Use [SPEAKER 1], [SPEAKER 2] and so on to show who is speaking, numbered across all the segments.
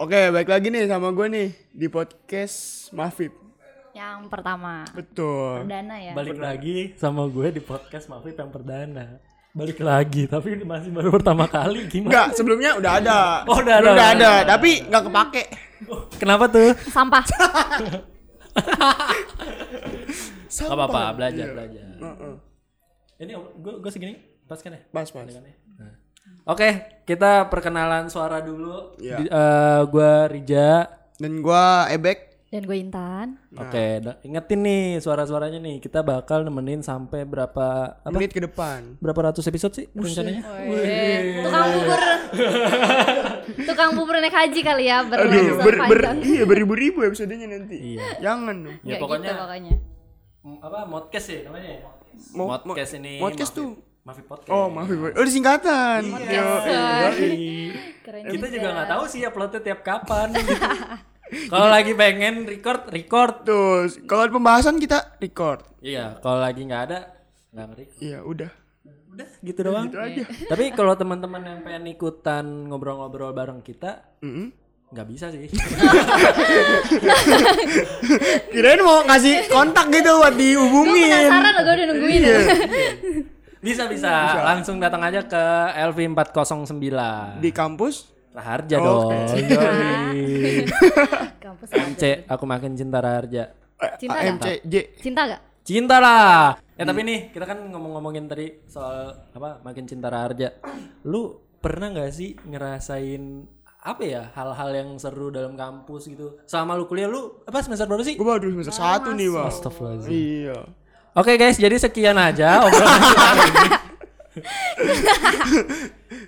[SPEAKER 1] Oke, balik lagi nih sama gue nih di podcast Mafib.
[SPEAKER 2] Yang pertama.
[SPEAKER 1] Betul.
[SPEAKER 2] Perdana ya.
[SPEAKER 3] Balik lagi sama gue di podcast Mafif yang perdana. Balik lagi, tapi ini masih baru pertama kali gimana?
[SPEAKER 1] Enggak, sebelumnya udah ada.
[SPEAKER 3] Oh,
[SPEAKER 1] Sebelumnya
[SPEAKER 3] udah ada.
[SPEAKER 1] Udah ada, tapi nggak kepake.
[SPEAKER 3] Kenapa tuh?
[SPEAKER 2] Sampah.
[SPEAKER 3] Gak apa-apa, belajar,
[SPEAKER 1] Iya.
[SPEAKER 3] belajar.
[SPEAKER 1] Heeh.
[SPEAKER 3] Ini gue gue segini, pas kan ya?
[SPEAKER 1] Pas, pas.
[SPEAKER 3] Kan ya? Nah. Oke, kita perkenalan suara dulu.
[SPEAKER 1] Iya. Nah.
[SPEAKER 3] Di- eh, gue Rija.
[SPEAKER 1] Dan gue ebek.
[SPEAKER 2] Dan gue Intan.
[SPEAKER 3] Oke, da- ingetin nih suara-suaranya nih. Kita bakal nemenin sampai berapa apa?
[SPEAKER 1] Menit ke depan.
[SPEAKER 3] Berapa ratus episode sih rencananya?
[SPEAKER 2] Weh, Tukang
[SPEAKER 1] Iya.
[SPEAKER 2] bubur. Tukang bubur naik haji kali ya. Ber
[SPEAKER 1] Aduh, ber, ber,
[SPEAKER 2] panjang.
[SPEAKER 1] iya beribu-ribu episodenya nanti.
[SPEAKER 3] Iya.
[SPEAKER 1] Jangan dong.
[SPEAKER 3] Ya,
[SPEAKER 2] Kayak
[SPEAKER 3] pokoknya-
[SPEAKER 2] gitu pokoknya.
[SPEAKER 3] M- apa modcast sih namanya? ya?
[SPEAKER 1] Mo- mo-
[SPEAKER 3] Modcast ini.
[SPEAKER 1] modcast
[SPEAKER 3] Mafif-
[SPEAKER 1] tuh.
[SPEAKER 3] Mafif podcast.
[SPEAKER 1] Oh, maaf. Ibu. Oh, di singkatan. Yo, iya.
[SPEAKER 2] Keren
[SPEAKER 3] kita juga nggak tahu sih uploadnya tiap kapan. gitu. kalau lagi pengen record, record.
[SPEAKER 1] Terus, kalau ada pembahasan kita record.
[SPEAKER 3] Iya, kalau lagi nggak ada nggak record.
[SPEAKER 1] Iya, udah.
[SPEAKER 3] Udah gitu doang.
[SPEAKER 1] Itu aja.
[SPEAKER 3] Tapi kalau teman-teman yang pengen ikutan ngobrol-ngobrol bareng kita
[SPEAKER 1] Mm-mm.
[SPEAKER 3] nggak bisa sih.
[SPEAKER 1] Eh, Kirain mau ngasih kontak gitu buat
[SPEAKER 2] Gue
[SPEAKER 1] dihubungin.
[SPEAKER 2] penasaran loh, gue udah nungguin.
[SPEAKER 1] Iya.
[SPEAKER 3] bisa bisa. Langsung datang aja ke LV 409.
[SPEAKER 1] Di kampus?
[SPEAKER 3] Raharja
[SPEAKER 1] Oh,
[SPEAKER 3] dong.
[SPEAKER 1] oke.
[SPEAKER 3] Yoi.
[SPEAKER 2] Kampus
[SPEAKER 3] MC, aku makin cinta Raharja.
[SPEAKER 2] Cinta
[SPEAKER 1] eh, A-
[SPEAKER 2] gak?
[SPEAKER 1] AMCJ.
[SPEAKER 2] Cinta gak?
[SPEAKER 3] Cinta lah. Ya tapi nih kita kan ngomong-ngomongin tadi soal apa makin cinta Raharja. Lu pernah nggak sih ngerasain apa ya hal-hal yang seru dalam kampus gitu? Selama lu kuliah lu apa semester berapa sih?
[SPEAKER 1] Gue baru semester satu nih, Bang.
[SPEAKER 3] Astagfirullahaladzim.
[SPEAKER 1] Iya.
[SPEAKER 3] Oke guys, jadi sekian aja obrolan kita hari ini.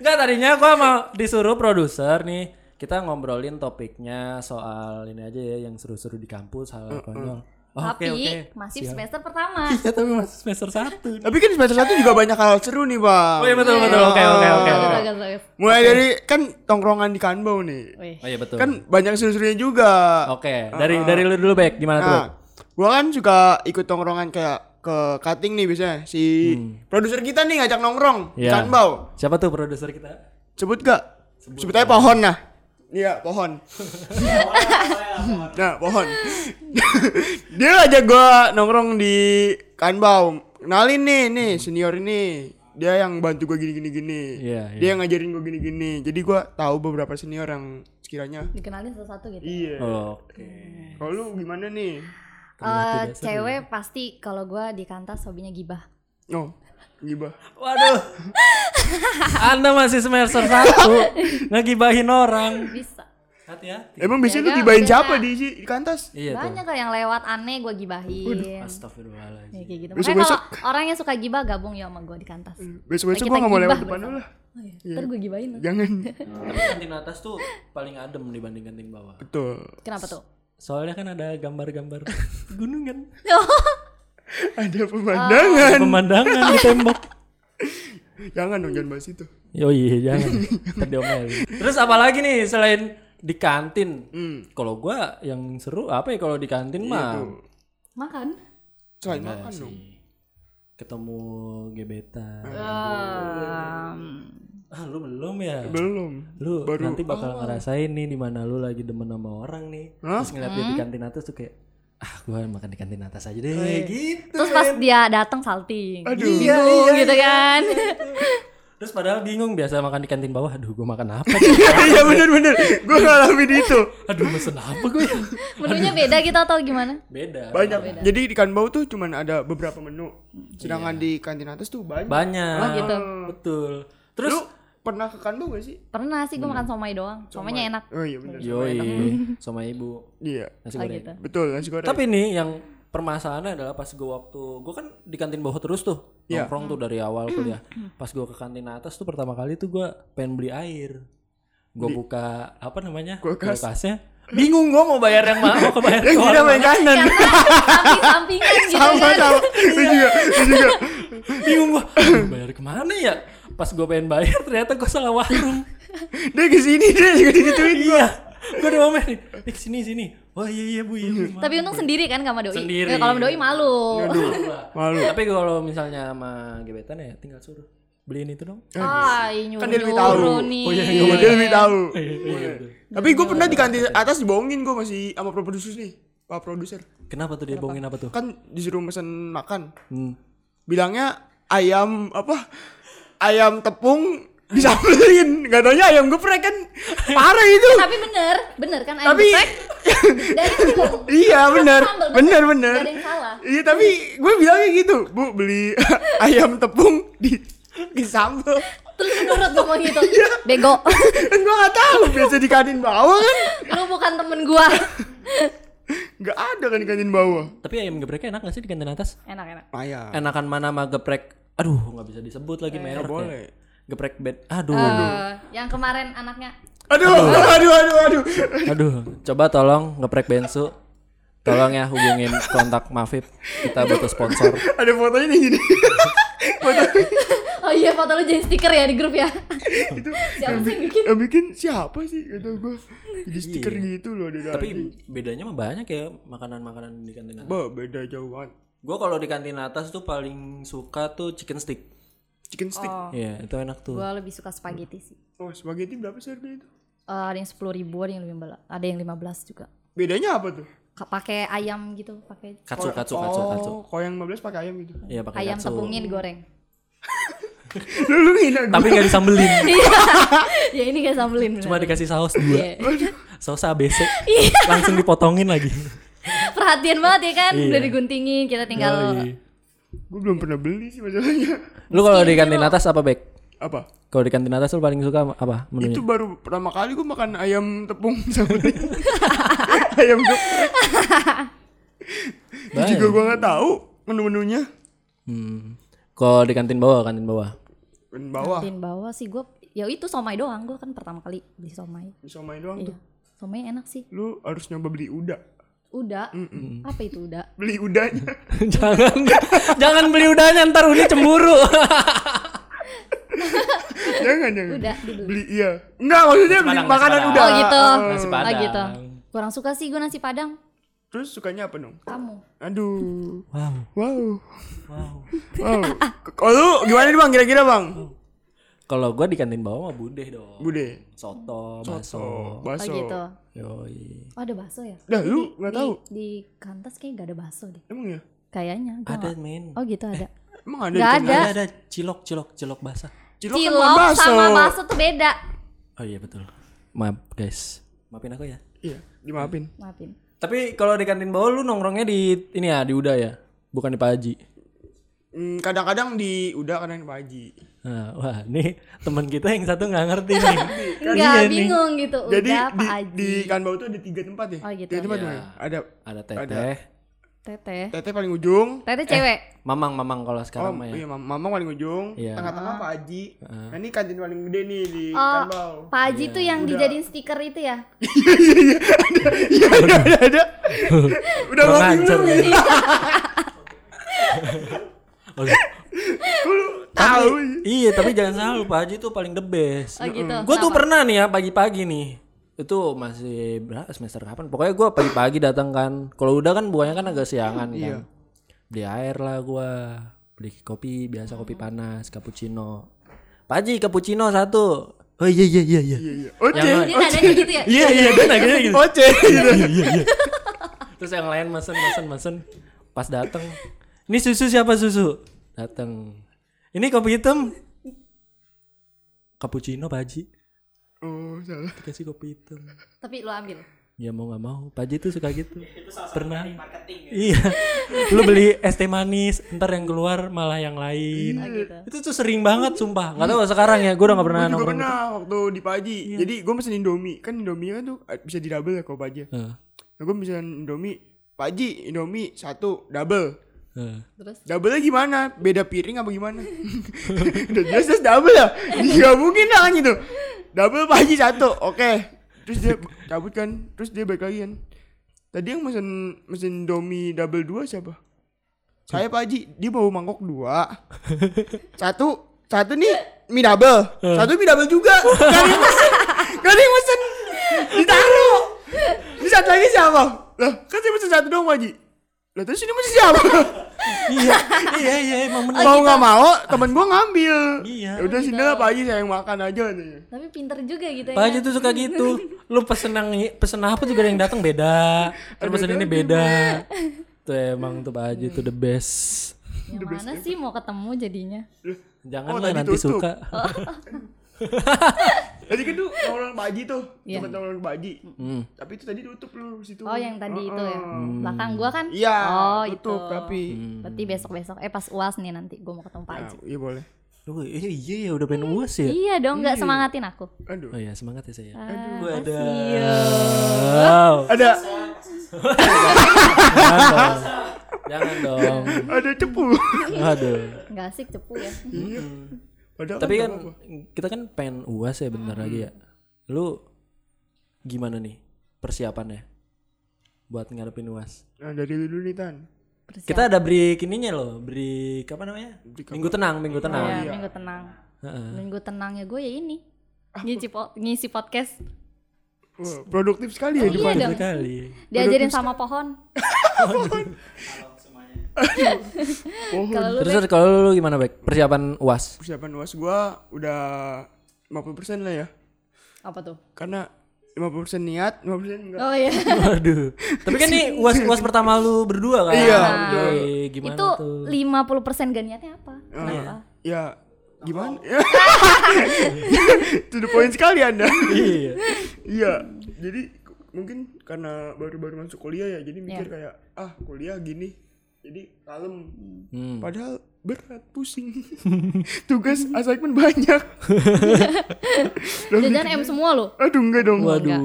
[SPEAKER 3] Enggak tadinya gua mau disuruh produser nih kita ngobrolin topiknya soal ini aja ya yang seru-seru di kampus hal-hal konyol. Oh,
[SPEAKER 2] Tapi
[SPEAKER 3] Oke oke.
[SPEAKER 2] masih
[SPEAKER 3] Siap.
[SPEAKER 2] semester pertama.
[SPEAKER 3] Ya tapi masih semester satu.
[SPEAKER 1] Tapi kan semester satu juga banyak hal seru nih, Bang.
[SPEAKER 3] Oh iya betul betul. Oke oke
[SPEAKER 1] Iya.
[SPEAKER 3] oke.
[SPEAKER 2] Bagus,
[SPEAKER 3] oke.
[SPEAKER 2] bagus, bagus.
[SPEAKER 1] Mulai dari kan tongkrongan di Kanbau nih.
[SPEAKER 2] Wih.
[SPEAKER 3] Oh iya betul.
[SPEAKER 1] Kan banyak seru-serunya juga.
[SPEAKER 3] oke, dari dari lu dulu baik gimana tuh? Bek?
[SPEAKER 1] Nah, gua kan suka ikut tongkrongan kayak ke cutting nih biasanya. Si produser kita nih ngajak nongkrong di
[SPEAKER 3] Hmm. Iya.
[SPEAKER 1] Kanbau.
[SPEAKER 3] Siapa tuh produser kita?
[SPEAKER 1] Sebut gak? Sebut aja pohon nah. Iya, pohon. nah, pohon. Dia ngajak gua nongkrong di Kanbau. Kenalin nih, nih senior ini. Dia yang bantu gua gini gini gini.
[SPEAKER 3] Iya,
[SPEAKER 1] Dia yang ngajarin gua gini gini. Jadi gua tahu beberapa senior yang sekiranya
[SPEAKER 2] Dikenalin satu-satu gitu.
[SPEAKER 1] Iya.
[SPEAKER 3] Oke.
[SPEAKER 1] Kalau lu gimana nih?
[SPEAKER 2] Eh,
[SPEAKER 3] ya.
[SPEAKER 2] cewek pasti kalau gue di kantas hobinya gibah.
[SPEAKER 1] No, Oh, gibah.
[SPEAKER 3] Waduh. Anda masih semester satu ngegibahin orang.
[SPEAKER 2] Bisa.
[SPEAKER 3] Hati-hati.
[SPEAKER 1] Emang biasanya lu
[SPEAKER 2] Beda,
[SPEAKER 1] gibahin
[SPEAKER 2] beda.
[SPEAKER 1] siapa di si- di kantas?
[SPEAKER 3] Iya tuh.
[SPEAKER 2] Banyak lah yang lewat aneh gue gibahin. Ya,
[SPEAKER 3] Astagfirullahaladzim.
[SPEAKER 2] kayak gitu. Makanya
[SPEAKER 1] Besok-besok.
[SPEAKER 2] kalau orang yang suka gibah gabung ya sama gue di kantas.
[SPEAKER 1] Besok-besok
[SPEAKER 2] Kita
[SPEAKER 1] gua nggak mau
[SPEAKER 2] gibah
[SPEAKER 1] lewat depan lu
[SPEAKER 2] bersama.
[SPEAKER 1] lah.
[SPEAKER 2] Oh, iya. Ntar gue gibahin. lah.
[SPEAKER 1] Jangan.
[SPEAKER 3] Tapi kantin atas tuh paling adem dibanding kantin bawah.
[SPEAKER 1] Betul.
[SPEAKER 2] Kenapa tuh?
[SPEAKER 3] Soalnya kan ada gambar-gambar gunungan,
[SPEAKER 1] Ada
[SPEAKER 3] Oh. Kan.
[SPEAKER 1] pemandangan.
[SPEAKER 3] pemandangan di tembok.
[SPEAKER 1] Jangan dong jangan bahas itu.
[SPEAKER 3] Yoi, iya, jangan. Ntar diomelin. Terus apa lagi nih selain di kantin?
[SPEAKER 1] Hmm. Iya
[SPEAKER 3] Kalau gua yang seru apa ya kalau di kantin mah?
[SPEAKER 2] Makan.
[SPEAKER 1] Selain
[SPEAKER 3] Enggak
[SPEAKER 1] makan
[SPEAKER 3] sih.
[SPEAKER 1] dong.
[SPEAKER 3] Ketemu gebetan.
[SPEAKER 1] Ah.
[SPEAKER 2] Ehm,
[SPEAKER 3] Ah, lu belum ya?
[SPEAKER 1] Belum.
[SPEAKER 3] Lu nanti bakal ngerasain nih di mana lu lagi demen sama orang nih. Terus ngeliat dia di kantin atas tuh kayak ah gua makan di kantin atas aja deh gitu.
[SPEAKER 2] Terus pas dia datang salting.
[SPEAKER 1] Aduh. iya,
[SPEAKER 2] Bingung gitu kan.
[SPEAKER 3] Terus padahal bingung biasa makan di kantin bawah. Aduh, gua makan apa?
[SPEAKER 1] Iya bener bener. Gue ngalamin itu.
[SPEAKER 3] Aduh, mesen apa gua? ya?
[SPEAKER 2] Menunya beda gitu atau gimana?
[SPEAKER 3] Beda. Iya.
[SPEAKER 1] Banyak. Jadi di Kanbau tuh cuman ada beberapa menu. Sedangkan di kantin atas tuh banyak.
[SPEAKER 3] Banyak.
[SPEAKER 2] Oh, gitu.
[SPEAKER 1] Ah.
[SPEAKER 3] Betul. Terus
[SPEAKER 1] Lu pernah ke Kanbau gak sih?
[SPEAKER 2] Pernah sih gue
[SPEAKER 1] Hmm.
[SPEAKER 2] makan somai doang. Somainya enak.
[SPEAKER 1] Oh iya bener.
[SPEAKER 3] yoi sama ibu
[SPEAKER 1] Iya.
[SPEAKER 3] nasi
[SPEAKER 2] Oh
[SPEAKER 3] goreng.
[SPEAKER 2] gitu.
[SPEAKER 1] Betul nasi goreng.
[SPEAKER 3] Tapi nih yang permasalahannya adalah pas gue waktu gue kan di kantin bawah terus tuh
[SPEAKER 1] Iya.
[SPEAKER 3] nongkrong tuh dari awal
[SPEAKER 2] Hmm.
[SPEAKER 3] kuliah. Pas gue ke kantin atas tuh pertama kali tuh gue pengen beli air. Gue buka apa namanya
[SPEAKER 1] Kulkas.
[SPEAKER 3] kulkasnya. Bingung gue mau bayar yang mana mau bayar
[SPEAKER 1] Yang
[SPEAKER 3] ke
[SPEAKER 1] kira
[SPEAKER 3] orang mana.
[SPEAKER 1] makanan.
[SPEAKER 2] Samping-sampingan gitu
[SPEAKER 1] Sama
[SPEAKER 2] kan.
[SPEAKER 1] sama. Gue juga.
[SPEAKER 3] Iya.
[SPEAKER 1] Gue juga.
[SPEAKER 3] Bingung gue bayar kemana ya? Pas gue pengen bayar ternyata gue salah warung.
[SPEAKER 1] Dia kesini dia juga digituin gue.
[SPEAKER 3] iya. Gue udah mau main. Nih sini sini. Wah iya iya bu iya. Bu, maaf."
[SPEAKER 2] Tapi untung sendiri kan gak sama doi.
[SPEAKER 3] Sendiri.
[SPEAKER 2] Ya, kalau sama doi malu.
[SPEAKER 3] Tapi kalau misalnya sama gebetan ya tinggal suruh. beliin itu dong
[SPEAKER 2] Ah, nyuruh
[SPEAKER 1] Kan dia lebih tahu.
[SPEAKER 2] nih.
[SPEAKER 3] Oh, iya,
[SPEAKER 1] Iya, dia lebih tahu.
[SPEAKER 3] iya, betul.
[SPEAKER 1] Tapi gue pernah di kantin atas dibohongin gue masih sama produser nih. Pak produser.
[SPEAKER 3] kenapa tuh dia bohongin apa tuh
[SPEAKER 1] Kan disuruh mesen makan.
[SPEAKER 3] Hmm.
[SPEAKER 1] Bilangnya ayam apa? Ayam tepung disambelin. Gak taunya ayam geprek kan. Parah itu.
[SPEAKER 2] Tapi bener, bener kan ayam
[SPEAKER 1] Tapi
[SPEAKER 2] geprek dari Cina.
[SPEAKER 1] Iya benar,
[SPEAKER 2] Sambal,
[SPEAKER 1] benar
[SPEAKER 2] bener.
[SPEAKER 1] benar.
[SPEAKER 2] Nggak ada yang salah.
[SPEAKER 1] Iya tapi gue bilangnya gitu, bu beli ayam tepung di di sambal.
[SPEAKER 2] Terus menurut gue mau gitu.
[SPEAKER 1] Iya.
[SPEAKER 2] Bego.
[SPEAKER 1] Kan gue nggak tahu biasa di kantin bawah kan,
[SPEAKER 2] Lu bukan temen gua.
[SPEAKER 1] nggak ada kan di kantin bawah.
[SPEAKER 3] tapi ayam gepreknya enak gak sih di kantin atas
[SPEAKER 2] Enak enak.
[SPEAKER 1] Maya.
[SPEAKER 3] enakan mana sama geprek aduh nggak bisa disebut lagi merek
[SPEAKER 1] boleh.
[SPEAKER 3] ya. geprek bed aduh
[SPEAKER 2] Eh, yang kemarin anaknya
[SPEAKER 1] Aduh, aduh, aduh, aduh.
[SPEAKER 3] aduh coba tolong geprek bensu tolong ya hubungin kontak Mafib kita butuh sponsor
[SPEAKER 1] Ada fotonya nih gini.
[SPEAKER 2] Oh iya foto lu jadi stiker ya di grup ya. Siapa sih yang
[SPEAKER 3] gitu.
[SPEAKER 2] bikin?
[SPEAKER 1] Yang bikin siapa sih? Kata gue. Jadi stiker gitu loh ada
[SPEAKER 3] tapi bedanya mah banyak ya makanan-makanan di kantin atas
[SPEAKER 1] Bah, beda jauh banget.
[SPEAKER 3] gue kalau di kantin atas tuh paling suka tuh chicken stick
[SPEAKER 1] Chicken stick. Oh,
[SPEAKER 3] Iya itu enak tuh
[SPEAKER 2] Gua lebih suka spaghetti sih.
[SPEAKER 1] spaghetti berapa sih harga itu?
[SPEAKER 2] Eh, ada yang sepuluh ribu, ada yang lima belas, ada yang lima belas juga.
[SPEAKER 1] Bedanya apa tuh?
[SPEAKER 2] Ka- Pakai ayam gitu, pakai
[SPEAKER 3] katsu katsu katsu katsu
[SPEAKER 1] Oh, kalau yang 15 pakai ayam gitu.
[SPEAKER 3] Iya pakai
[SPEAKER 2] ayam
[SPEAKER 3] katsu
[SPEAKER 2] tepungnya digoreng.
[SPEAKER 1] Lu lu ngina
[SPEAKER 3] tapi nggak disambelin
[SPEAKER 2] Iya. ya ini kayak sambelin.
[SPEAKER 3] cuma
[SPEAKER 2] bener.
[SPEAKER 3] dikasih saus dua
[SPEAKER 2] Iya.
[SPEAKER 3] saus ABC langsung dipotongin lagi
[SPEAKER 2] Perhatian banget ya kan,
[SPEAKER 3] Iya.
[SPEAKER 2] udah diguntingin, kita tinggal
[SPEAKER 3] Yoi.
[SPEAKER 1] Gue belum pernah beli sih masalahnya.
[SPEAKER 3] Oh, lu kalau di kantin atas apa baik
[SPEAKER 1] Apa?
[SPEAKER 3] kalau di kantin atas lu paling suka apa menunya
[SPEAKER 1] Itu baru pertama kali gue makan ayam tepung sama dia. ayam geprek. Itu
[SPEAKER 3] Baik.
[SPEAKER 1] juga gue nggak tahu menu-menunya.
[SPEAKER 3] Hmm. Kalau di kantin bawah, kantin bawah.
[SPEAKER 1] Dan bawah
[SPEAKER 2] Kantin bawah sih gue ya itu somai doang gue kan pertama kali beli somai
[SPEAKER 1] bisa main doang
[SPEAKER 2] iya
[SPEAKER 1] tuh.
[SPEAKER 2] somai enak sih
[SPEAKER 1] Lu harus nyoba beli udah.
[SPEAKER 2] udah apa itu udah
[SPEAKER 1] Beli udahnya.
[SPEAKER 3] jangan jangan beli udahnya ntar Uni cemburu.
[SPEAKER 1] jangan jangan.
[SPEAKER 2] udah dibeli
[SPEAKER 1] Beli iya. Enggak maksudnya beli
[SPEAKER 3] Padang, nasi
[SPEAKER 1] makanan
[SPEAKER 3] Padang.
[SPEAKER 1] udah.
[SPEAKER 2] oh gitu
[SPEAKER 3] Nasi
[SPEAKER 2] oh
[SPEAKER 3] Padang.
[SPEAKER 2] gitu kurang suka sih gue nasi padang
[SPEAKER 1] Terus sukanya apa dong?
[SPEAKER 2] kamu
[SPEAKER 1] Aduh.
[SPEAKER 3] wow.
[SPEAKER 1] Wow.
[SPEAKER 3] Wow.
[SPEAKER 1] Wow. Oh. Kalau lu gimana nih Bang kira-kira Bang?
[SPEAKER 3] Kalau gua di kantin bawah mah budeh dong.
[SPEAKER 1] Bude.
[SPEAKER 3] Soto, bakso.
[SPEAKER 1] Oh,
[SPEAKER 2] oh
[SPEAKER 1] bakso.
[SPEAKER 2] gitu
[SPEAKER 3] Yoi.
[SPEAKER 2] oh ada bakso ya
[SPEAKER 1] Dah, lu nggak
[SPEAKER 2] Di-
[SPEAKER 1] tahu.
[SPEAKER 2] di kantas kayak gak ada bakso deh
[SPEAKER 1] Emang ya?
[SPEAKER 2] kayaknya gua
[SPEAKER 3] Ada
[SPEAKER 2] nggak-
[SPEAKER 3] men.
[SPEAKER 2] oh gitu ada
[SPEAKER 1] Emang ada
[SPEAKER 2] Nggak
[SPEAKER 1] ikan?
[SPEAKER 2] ada.
[SPEAKER 3] Ada ada cilok, cilok, cilok basah.
[SPEAKER 1] Cilok, kan bukan
[SPEAKER 2] cilok
[SPEAKER 1] bakso.
[SPEAKER 2] sama bakso tuh beda
[SPEAKER 3] Oh iya betul. Maaf guys. Maafin aku ya.
[SPEAKER 1] Iya, dimaafin.
[SPEAKER 2] maafin
[SPEAKER 3] Tapi kalau di kantin bawah lu nongkrongnya di ini ya, di udah ya. Bukan di Pak Haji.
[SPEAKER 1] Hmm, kadang-kadang di udah kadang di Pak Haji.
[SPEAKER 3] Nah, wah, nih teman kita yang satu nggak ngerti nih.
[SPEAKER 2] Enggak bingung gitu
[SPEAKER 1] Jadi
[SPEAKER 2] udah
[SPEAKER 1] di,
[SPEAKER 2] Pak Haji
[SPEAKER 1] di Kanbau tuh ada tiga tempat ya.
[SPEAKER 2] Oh, gitu.
[SPEAKER 1] Tiga tempat
[SPEAKER 3] Iya.
[SPEAKER 1] mana? Ada
[SPEAKER 3] Ada teteh,
[SPEAKER 2] teteh
[SPEAKER 1] Tete paling ujung.
[SPEAKER 2] teteh cewek
[SPEAKER 3] mamang, mamang kalau
[SPEAKER 1] Oh,
[SPEAKER 3] sekarang mah ya.
[SPEAKER 1] iya, Mam- Mamang paling ujung.
[SPEAKER 3] Iya.
[SPEAKER 1] Tengah-tengah Pak Haji. Nah, ini kantin paling gede nih di Kan
[SPEAKER 2] Oh,
[SPEAKER 1] Kanbau.
[SPEAKER 2] Pak Haji tuh yang dijadiin stiker itu ya?
[SPEAKER 1] Iya, ada, ada, ada. Udah
[SPEAKER 3] Kurang
[SPEAKER 1] ngopi
[SPEAKER 3] ajar ya.
[SPEAKER 1] belum?
[SPEAKER 3] lu. Aduh,
[SPEAKER 1] Lu
[SPEAKER 3] tapi-
[SPEAKER 1] Tahu.
[SPEAKER 3] iya tapi jangan salah lu, Pak Haji tuh paling the best.
[SPEAKER 2] Oh gitu.
[SPEAKER 3] Gue tuh pernah nih ya pagi-pagi nih itu masih berapa semester kapan? Pokoknya gue pagi-pagi datang kan. Kalau udah kan buahnya kan agak siangan kan. Beli air lah gue, beli kopi biasa kopi panas, cappuccino. Pak Haji cappuccino satu. Oh iya iya iya iya.
[SPEAKER 1] Iya, iya. Oce.
[SPEAKER 2] Jadi nadanya gitu ya?
[SPEAKER 3] Iya iya dan akhirnya gitu.
[SPEAKER 1] Oce gitu.
[SPEAKER 3] Terus yang lain mesen mesen mesen. Pas dateng, ini susu siapa susu? Dateng. Ini kopi hitam. Cappuccino Pak Haji.
[SPEAKER 1] Oh, salah.
[SPEAKER 3] Dikasih kopi hitam.
[SPEAKER 2] Tapi lu ambil.
[SPEAKER 3] Ya mau nggak mau, Pak Haji tuh suka gitu. Pernah.
[SPEAKER 2] ya?
[SPEAKER 3] Iya. Lu beli es teh manis, ntar yang keluar malah yang lain.
[SPEAKER 1] Iya.
[SPEAKER 2] Oh gitu.
[SPEAKER 3] Itu tuh sering banget sumpah. Nggak tahu sekarang ya, gue udah nggak pernah
[SPEAKER 1] Gue juga
[SPEAKER 3] nongkrong.
[SPEAKER 1] pernah waktu di Pak Haji.
[SPEAKER 3] Iya.
[SPEAKER 1] Jadi gue pesen Indomie. Kan Indomie kan tuh eh, bisa di double ya kalau Pak Haji.
[SPEAKER 3] Heeh.
[SPEAKER 1] Nah, gue pesen Indomie. Pak Haji, Indomie satu double.
[SPEAKER 3] Heeh.
[SPEAKER 2] Terus
[SPEAKER 1] Double gimana? Beda piring apa gimana? Udah jelas jelas double ya. Gak mungkin lah kan gitu. Double Pak Haji satu. Oke. Terus dia cabut kan. Terus dia balik lagi kan. Tadi yang mesen mesen Indomie double dua siapa? Saya Pak Haji. Dia bawa mangkok dua. Satu satu nih mie double. Satu mie double juga. Gak ada yang mesen. Gak ada yang mesen. Ditaruh. Ini satu lagi siapa? Lah, kan saya mesen satu doang Pak Haji. Lah terus ini mesen siapa?
[SPEAKER 3] iya iya iya emang bener
[SPEAKER 1] mau nggak mau temen gue ngambil
[SPEAKER 3] Iya.
[SPEAKER 1] ya udah sini lah Pak Haji saya yang makan aja katanya.
[SPEAKER 2] Tapi pinter juga gitu
[SPEAKER 1] iya,
[SPEAKER 2] ya.
[SPEAKER 3] Pak Haji tuh suka gitu lu pesen yang pesen apa juga ada yang datang beda Terus pesen ini beda tuh emang tuh Pak Haji tuh the best
[SPEAKER 2] Yang mana sih mau ketemu jadinya?
[SPEAKER 3] jangan
[SPEAKER 1] Oh,
[SPEAKER 3] lah
[SPEAKER 1] tadi
[SPEAKER 3] nanti
[SPEAKER 1] tutup. Oh.
[SPEAKER 3] suka
[SPEAKER 1] tadi kan tuh nolong Pak Haji tuh
[SPEAKER 2] Iya.
[SPEAKER 1] temen nolong Pak Haji
[SPEAKER 3] Hmm.
[SPEAKER 1] tapi itu tadi tutup lu situ
[SPEAKER 2] Oh, yang tadi itu ya. Belakang gua kan?
[SPEAKER 1] iya
[SPEAKER 2] Oh,
[SPEAKER 1] tutup
[SPEAKER 2] itu.
[SPEAKER 1] tapi
[SPEAKER 2] Berarti besok-besok eh pas UAS nih nanti gua mau ketemu Pak
[SPEAKER 1] Nah,
[SPEAKER 2] Haji.
[SPEAKER 1] Hmm, iya boleh
[SPEAKER 3] Duh, iya iya ya udah pengen uas ya
[SPEAKER 2] Iya dong, nggak semangatin aku. Iya.
[SPEAKER 1] aduh
[SPEAKER 3] oh iya semangat ya saya
[SPEAKER 2] Aduh,
[SPEAKER 3] Gua ada
[SPEAKER 2] makasih yo.
[SPEAKER 3] wow
[SPEAKER 1] ada
[SPEAKER 3] jangan dong jangan dong
[SPEAKER 1] ada cepu
[SPEAKER 3] aduh
[SPEAKER 2] Nggak asik cepu ya.
[SPEAKER 1] Padahal
[SPEAKER 3] tapi
[SPEAKER 1] nggak
[SPEAKER 3] kan
[SPEAKER 1] apa-apa.
[SPEAKER 3] kita kan pengen uas ya bentar lagi ya lu gimana nih persiapannya buat ngadepin uas
[SPEAKER 1] nah, dari lu dulu nih Tan
[SPEAKER 3] kita ada break ininya loh break apa Iya. namanya
[SPEAKER 1] Break
[SPEAKER 3] minggu tenang minggu tenang
[SPEAKER 2] Ya, minggu tenang.
[SPEAKER 3] Heeh.
[SPEAKER 2] Minggu tenangnya gue ya ini. Ngisi, po- ngisi podcast.
[SPEAKER 1] Wah, produktif sekali ya di
[SPEAKER 2] Iya dong.
[SPEAKER 3] sekali
[SPEAKER 2] Diajarin sama pohon.
[SPEAKER 1] pohon
[SPEAKER 2] Kalau lu
[SPEAKER 3] terus terus kalau lu gimana baik persiapan uas
[SPEAKER 1] persiapan uas gua udah 50% lah ya
[SPEAKER 2] apa tuh?
[SPEAKER 1] karena 50% niat 50% enggak
[SPEAKER 2] Oh iya.
[SPEAKER 3] Waduh. Tapi kan nih uas uas pertama lu berdua kan?
[SPEAKER 1] Iya,
[SPEAKER 3] Yoi, Eh, Gimana
[SPEAKER 2] Ah. itu
[SPEAKER 3] tuh? Iya.
[SPEAKER 2] 50% ganiatnya apa? Kenapa?
[SPEAKER 1] ya gimana to the point sekali anda
[SPEAKER 3] Iya.
[SPEAKER 1] iya
[SPEAKER 2] Hmm.
[SPEAKER 1] jadi k- mungkin karena baru-baru masuk kuliah ya jadi
[SPEAKER 2] Iya.
[SPEAKER 1] mikir kayak ah kuliah gini jadi kalem
[SPEAKER 3] Hmm.
[SPEAKER 1] padahal berat pusing tugas assignment banyak
[SPEAKER 2] Jajan M semua lo.
[SPEAKER 1] aduh enggak dong
[SPEAKER 3] Waduh.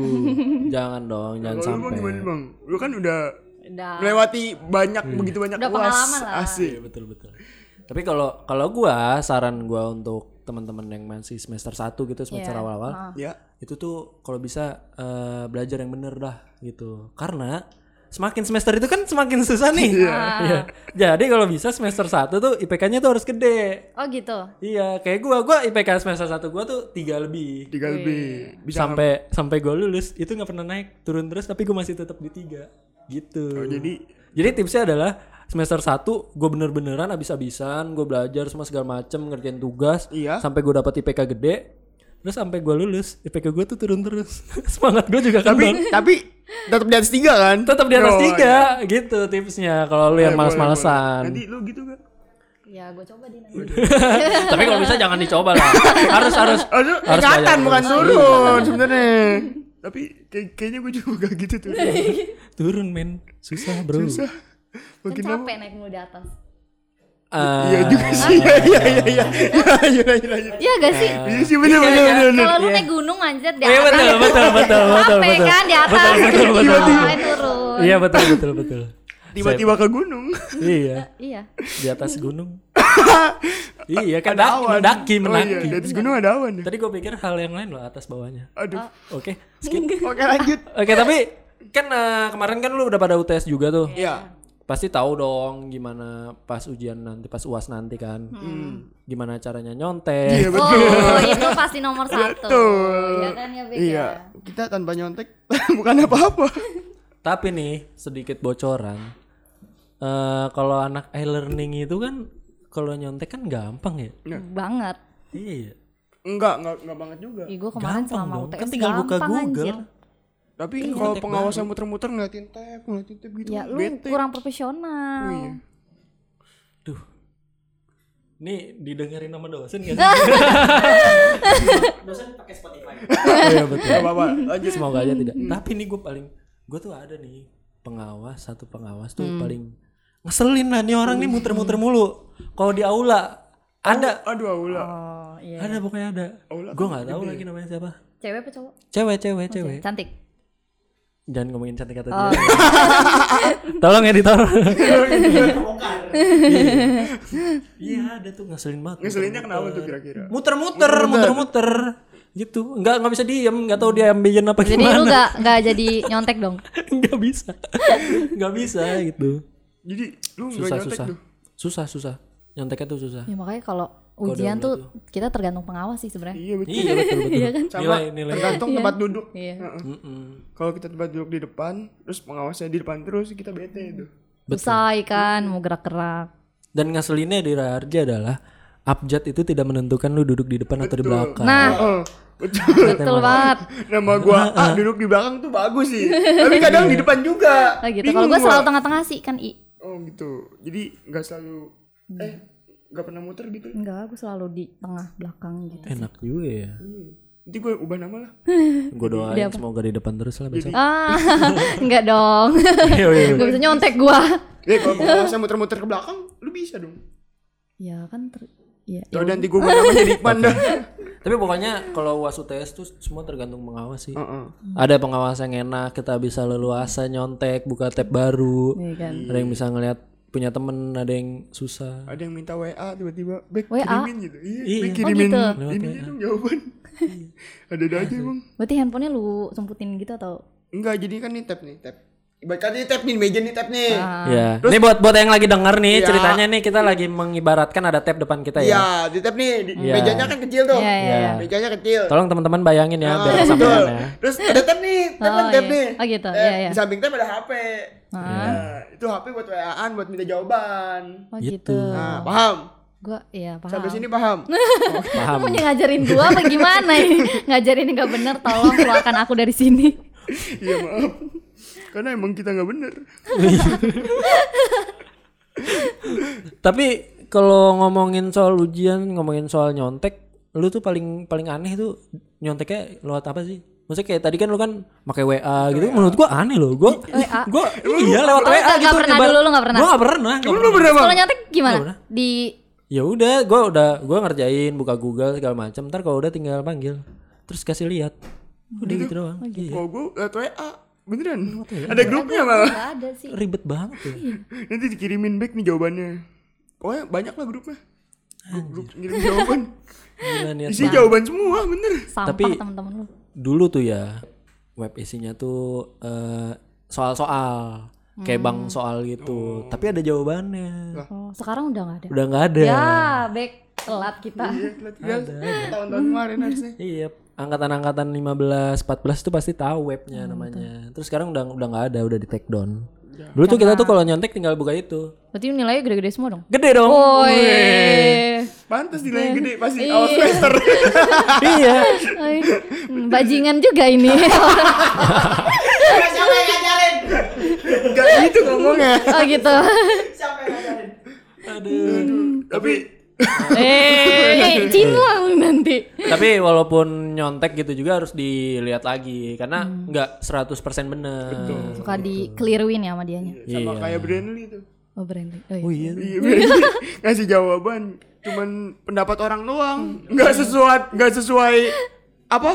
[SPEAKER 3] jangan dong,
[SPEAKER 1] kalau
[SPEAKER 3] jangan
[SPEAKER 1] lu bang
[SPEAKER 3] sampai.
[SPEAKER 1] gimana bang lu kan udah
[SPEAKER 2] Udah.
[SPEAKER 1] melewati banyak begitu banyak
[SPEAKER 2] Udah
[SPEAKER 1] uas
[SPEAKER 2] pengalaman lah.
[SPEAKER 1] asik
[SPEAKER 3] Iya, betul betul. Tapi kalau kalau gua saran gua untuk teman-teman yang masih semester 1 gitu semester
[SPEAKER 2] Iya.
[SPEAKER 3] awal-awal
[SPEAKER 1] ya
[SPEAKER 3] itu tuh kalau bisa eh, belajar yang bener dah gitu karena semakin semester itu kan semakin susah nih Iya. jadi kalau bisa semester 1 tuh IPK-nya tuh harus gede
[SPEAKER 2] Oh gitu.
[SPEAKER 3] iya kayak gua gua IPK semester 1 gua tuh tiga lebih
[SPEAKER 1] tiga
[SPEAKER 2] Iya,
[SPEAKER 1] lebih bisa
[SPEAKER 3] sampai sampai gue lulus itu nggak pernah naik turun terus tapi gue masih tetap di tiga gitu jadi
[SPEAKER 1] Oh, jadi
[SPEAKER 3] tipsnya adalah semester 1 gue bener-beneran abis-abisan gue belajar semua segala macem ngerjain tugas
[SPEAKER 1] Iya.
[SPEAKER 3] sampai gue dapat IPK gede terus sampai gue lulus IPK gue tuh turun terus semangat gue juga
[SPEAKER 1] tapi
[SPEAKER 3] kembang
[SPEAKER 1] tapi tetap di atas tiga kan
[SPEAKER 3] tetap di atas
[SPEAKER 1] Oh, Eh,
[SPEAKER 3] tiga gitu tipsnya kalau lu yang
[SPEAKER 1] Boleh, boleh, boleh.
[SPEAKER 3] males-malesan
[SPEAKER 1] Nanti lu gitu gak?
[SPEAKER 2] Ya gue coba di nanti.
[SPEAKER 3] tapi kalau bisa jangan dicoba lah harus harus
[SPEAKER 1] Oh, lu
[SPEAKER 3] Harus
[SPEAKER 1] ingatan
[SPEAKER 3] banyak
[SPEAKER 1] bukan
[SPEAKER 2] Oh,
[SPEAKER 3] terus.
[SPEAKER 2] iya,
[SPEAKER 1] turun sebenarnya. Tapi kayak- kayaknya gue juga gak gitu tuh.
[SPEAKER 3] turun men susah bro
[SPEAKER 1] Susah. ya?
[SPEAKER 2] Kan
[SPEAKER 1] Makin lama.
[SPEAKER 2] capek naik mulu di atas.
[SPEAKER 3] Ah,
[SPEAKER 1] Iya juga sih. Iya iya iya iya. Iya iya iya, iya.
[SPEAKER 2] Iya gak sih?
[SPEAKER 1] Iya sih bener bener bener. bener.
[SPEAKER 2] Kalau lu naik gunung anjir di
[SPEAKER 3] Iya,
[SPEAKER 2] atas.
[SPEAKER 3] Eh. betul, betul, betul, betul,
[SPEAKER 2] Capek
[SPEAKER 3] betul.
[SPEAKER 2] kan di atas.
[SPEAKER 3] Betul, betul, betul,
[SPEAKER 2] Tiba-tiba
[SPEAKER 3] betul.
[SPEAKER 2] turun.
[SPEAKER 3] iya betul betul betul
[SPEAKER 1] Tiba-tiba ke gunung.
[SPEAKER 3] iya
[SPEAKER 2] Iya.
[SPEAKER 3] di atas gunung iya kan
[SPEAKER 1] Ada
[SPEAKER 3] daki,
[SPEAKER 1] awan.
[SPEAKER 3] mendaki
[SPEAKER 1] Oh,
[SPEAKER 3] mendaki
[SPEAKER 1] iya, di atas gunung ada awan ya.
[SPEAKER 3] tadi gue pikir hal yang lain loh atas bawahnya
[SPEAKER 1] Aduh.
[SPEAKER 3] oke skip.
[SPEAKER 1] Oke lanjut.
[SPEAKER 3] oke tapi kan eh, kemarin kan lu udah pada UTS juga tuh
[SPEAKER 1] Iya.
[SPEAKER 3] pasti tahu dong gimana pas ujian nanti pas uas nanti kan gimana caranya
[SPEAKER 1] Hmm. Iya
[SPEAKER 3] nyontek
[SPEAKER 2] Oh, itu pasti nomor satu.
[SPEAKER 1] Betul.
[SPEAKER 2] Iya kan ya, Bek?
[SPEAKER 1] Iya.
[SPEAKER 2] ya?
[SPEAKER 1] Kita tanpa nyontek bukan apa-apa.
[SPEAKER 3] tapi nih sedikit bocoran Eh, kalau anak e-learning itu kan kalau nyontek kan gampang ya
[SPEAKER 2] Banget.
[SPEAKER 3] iya
[SPEAKER 1] Enggak, enggak enggak banget juga.
[SPEAKER 2] Ih, gue kemarin selama
[SPEAKER 3] dong,
[SPEAKER 2] UTS
[SPEAKER 3] kan tinggal buka
[SPEAKER 2] gampang,
[SPEAKER 3] Google.
[SPEAKER 2] anjir.
[SPEAKER 1] Tapi kalau pengawasan muter-muter ngeliatin tab, ngeliatin tab gitu.
[SPEAKER 2] Ya lu
[SPEAKER 1] bete.
[SPEAKER 2] kurang profesional.
[SPEAKER 1] Iya.
[SPEAKER 3] Duh. Nih didengerin sama dosen gak sih? dosen pakai Spotify. Iya betul.
[SPEAKER 1] Gak apa-apa. Lanjut.
[SPEAKER 3] Semoga aja tidak. Tapi nih gue paling gue tuh ada nih pengawas satu pengawas tuh
[SPEAKER 2] Mm.
[SPEAKER 3] paling ngeselin lah nih orang nih muter-muter mulu. Kalau di aula ada
[SPEAKER 1] Aduh, aula.
[SPEAKER 2] Oh, iya.
[SPEAKER 3] ada pokoknya ada.
[SPEAKER 1] Aula
[SPEAKER 3] Gue nggak tahu lagi namanya siapa.
[SPEAKER 2] Cewek apa cowok?
[SPEAKER 3] Cewek, cewek, cewek.
[SPEAKER 2] Cantik.
[SPEAKER 3] Jangan ngomongin cantik kata
[SPEAKER 2] Oh.
[SPEAKER 3] dia. Tolong editor. Iya. Iya ada tuh ngeselin banget.
[SPEAKER 1] Ngeselinnya kenapa tuh kira-kira?
[SPEAKER 3] muter-muter, muter-muter gitu. Nggak nggak bisa diem, nggak tahu dia ambilin apa
[SPEAKER 2] Jadi lu
[SPEAKER 3] gimana.
[SPEAKER 2] gak, gak jadi nyontek dong?
[SPEAKER 3] Nggak bisa, nggak bisa gitu.
[SPEAKER 1] Jadi lu Hmm. nggak
[SPEAKER 3] Susah
[SPEAKER 1] nyontek
[SPEAKER 3] susah,
[SPEAKER 1] tuh.
[SPEAKER 3] susah susah. Nyonteknya tuh susah.
[SPEAKER 2] Ya makanya kalau ujian tuh kita tergantung pengawas sih sebenarnya.
[SPEAKER 1] Iya betul.
[SPEAKER 3] Iya betul betul.
[SPEAKER 1] Sama
[SPEAKER 3] Nilai nilai.
[SPEAKER 1] tergantung tempat duduk.
[SPEAKER 2] Iya.
[SPEAKER 1] Heeh. Kalau kita tempat duduk di depan, terus pengawasnya di depan terus kita bete itu.
[SPEAKER 2] usai kan mau gerak-gerak
[SPEAKER 3] Dan ngeselinnya di Raharja adalah abjad itu tidak menentukan lu duduk di depan atau di belakang.
[SPEAKER 2] nah
[SPEAKER 1] Heeh, betul.
[SPEAKER 2] betul banget
[SPEAKER 1] Nama gua A duduk di belakang tuh bagus sih. Tapi kadang di depan juga.
[SPEAKER 2] Nah, gitu kalau
[SPEAKER 1] Bingung
[SPEAKER 2] gue
[SPEAKER 1] gua.
[SPEAKER 2] selalu tengah-tengah sih kan i
[SPEAKER 1] Oh gitu. Jadi nggak selalu
[SPEAKER 2] Hmm.
[SPEAKER 1] eh nggak pernah muter gitu.
[SPEAKER 2] enggak gue selalu di tengah belakang gitu
[SPEAKER 3] Enak juga ya.
[SPEAKER 1] Hmm. Nanti gue ubah nama lah.
[SPEAKER 3] Gue doain semoga di depan terus lah besok.
[SPEAKER 2] ah enggak dong
[SPEAKER 3] Iya, iya, iya.
[SPEAKER 2] Gak bisa nyontek gua
[SPEAKER 1] Eh kalau kalau saya muter-muter ke belakang, lu bisa dong.
[SPEAKER 2] Ya kan ter... Ya,
[SPEAKER 1] Tuh dan nanti gue ubah nama jadi Iqman dah.
[SPEAKER 3] Tapi pokoknya kalau UAS UTS tuh semua tergantung pengawas sih.
[SPEAKER 1] Heeh.
[SPEAKER 3] Ada pengawas yang enak, kita bisa leluasa nyontek, buka tab baru.
[SPEAKER 2] Iya kan.
[SPEAKER 3] Ada yang bisa ngeliat punya temen, ada yang susah.
[SPEAKER 1] Ada yang minta WA tiba-tiba, "Bek,
[SPEAKER 2] WA?
[SPEAKER 1] kirimin gitu." Iya,
[SPEAKER 3] Iya.
[SPEAKER 1] Bek,
[SPEAKER 3] Oh,
[SPEAKER 1] kirimin.
[SPEAKER 2] gitu. Iya.
[SPEAKER 1] Ininya dong jawaban. Ada-ada aja emang.
[SPEAKER 2] Berarti handphonenya lu sumputin gitu atau
[SPEAKER 1] Enggak, jadi kan ini tab nih, tab. Ibaratkan ini tab nih, meja nih tab nih.
[SPEAKER 2] Ah, Iya.
[SPEAKER 3] Ya. Nih buat buat yang lagi denger nih
[SPEAKER 1] Iya.
[SPEAKER 3] ceritanya nih kita lagi mengibaratkan ada tab depan kita ya.
[SPEAKER 1] Iya, di tab nih, di-
[SPEAKER 3] Iya.
[SPEAKER 1] mejanya kan kecil tuh.
[SPEAKER 2] Iya, iya, iya.
[SPEAKER 1] Mejanya kecil.
[SPEAKER 3] Tolong teman-teman bayangin ya biar
[SPEAKER 1] Ah,
[SPEAKER 3] kesamaan
[SPEAKER 1] betul.
[SPEAKER 3] ya.
[SPEAKER 1] Terus ada tab nih, tab kan
[SPEAKER 2] Oh,
[SPEAKER 1] tab
[SPEAKER 2] iya.
[SPEAKER 1] nih.
[SPEAKER 2] Oh, gitu.
[SPEAKER 1] Eh,
[SPEAKER 2] Iya, iya.
[SPEAKER 1] Di samping tab ada HP.
[SPEAKER 2] Ah,
[SPEAKER 1] Nah, itu HP buat WA-an, buat minta jawaban.
[SPEAKER 2] Oh
[SPEAKER 3] Gitu.
[SPEAKER 2] gitu.
[SPEAKER 1] Nah, paham?
[SPEAKER 2] Gua ya paham.
[SPEAKER 1] Sampai sini paham?
[SPEAKER 3] Paham.
[SPEAKER 2] Kamu mau ngajarin gua apa gimana ini? ngajarin nggak bener tolong keluarkan aku dari sini.
[SPEAKER 1] Iya, maaf. Karena emang kita nggak bener.
[SPEAKER 3] Tapi kalau ngomongin soal ujian, ngomongin soal nyontek, lu tuh paling paling aneh tuh nyonteknya lewat apa sih? Maksudnya kayak tadi kan lu kan pakai WA gitu, menurut gua aneh loh. Gua
[SPEAKER 2] WA.
[SPEAKER 3] gua iya lewat
[SPEAKER 2] lu
[SPEAKER 3] WA
[SPEAKER 2] nggak-
[SPEAKER 3] gitu.
[SPEAKER 2] nggak pernah
[SPEAKER 3] nyebar-
[SPEAKER 2] dulu, lu nggak pernah?
[SPEAKER 3] Gua nggak pernah. nggak
[SPEAKER 1] Lu
[SPEAKER 3] pernah.
[SPEAKER 1] bener, Bang.
[SPEAKER 2] Kalau nyontek
[SPEAKER 3] Gimana?
[SPEAKER 2] gimana? Di
[SPEAKER 3] Ya udah, gua udah gua ngerjain, buka Google segala macam. Ntar kalau udah tinggal panggil. Terus kasih lihat. Udah gitu doang.
[SPEAKER 2] Oh,
[SPEAKER 3] Iya.
[SPEAKER 1] Kalau gue Oh, lewat WA, beneran. Ada grupnya malah.
[SPEAKER 2] nggak ada sih.
[SPEAKER 3] Ribet banget ya.
[SPEAKER 2] Iya.
[SPEAKER 1] Nanti dikirimin back nih jawabannya. Pokoknya banyak lah grupnya. Grup- Grup ngirim jawaban.
[SPEAKER 3] Gila niat
[SPEAKER 2] Iya.
[SPEAKER 1] Isi jawaban semua, bener.
[SPEAKER 2] Sampah
[SPEAKER 3] Tapi-
[SPEAKER 2] teman-teman lu.
[SPEAKER 3] dulu tuh ya web isinya tuh eh, soal-soal kayak bang
[SPEAKER 2] Hmm.
[SPEAKER 3] soal gitu tapi ada jawabannya
[SPEAKER 2] Oh, sekarang udah nggak ada.
[SPEAKER 3] udah nggak ada
[SPEAKER 2] Ya, back telat kita.
[SPEAKER 1] Iya, lihat tahun-tahun kemarin harusnya.
[SPEAKER 3] iya angkatan-angkatan 15 14 tuh pasti tahu webnya
[SPEAKER 2] Hmm,
[SPEAKER 3] namanya terus sekarang udah udah nggak ada udah di take down
[SPEAKER 2] Ya.
[SPEAKER 3] dulu tuh kita tuh kalau nyontek tinggal buka itu
[SPEAKER 2] Berarti nilainya gede-gede semua dong.
[SPEAKER 3] gede dong
[SPEAKER 2] Woi.
[SPEAKER 1] Pantas nilainya gede pasti awal semester.
[SPEAKER 3] iya
[SPEAKER 2] Ay, Hmm, Bajingan juga ini.
[SPEAKER 1] Siapa yang ngajarin? Gak
[SPEAKER 3] Iya.
[SPEAKER 1] gitu ngomongnya.
[SPEAKER 2] oh gitu.
[SPEAKER 1] Siapa yang ngajarin?
[SPEAKER 3] Aduh.
[SPEAKER 2] Hmm.
[SPEAKER 1] Tapi
[SPEAKER 2] eh, cilang nanti.
[SPEAKER 3] tapi walaupun nyontek gitu juga harus dilihat lagi karena
[SPEAKER 2] Hmm.
[SPEAKER 3] nggak 100% bener
[SPEAKER 2] Suka dikeliruin ya sama dianya.
[SPEAKER 1] sama kayak Brandly tuh.
[SPEAKER 2] Oh, Brandly. Oh, iya.
[SPEAKER 3] oh iya
[SPEAKER 1] Iya, Brandly ngasih jawaban cuman pendapat orang doang, nggak sesuai nggak sesuai apa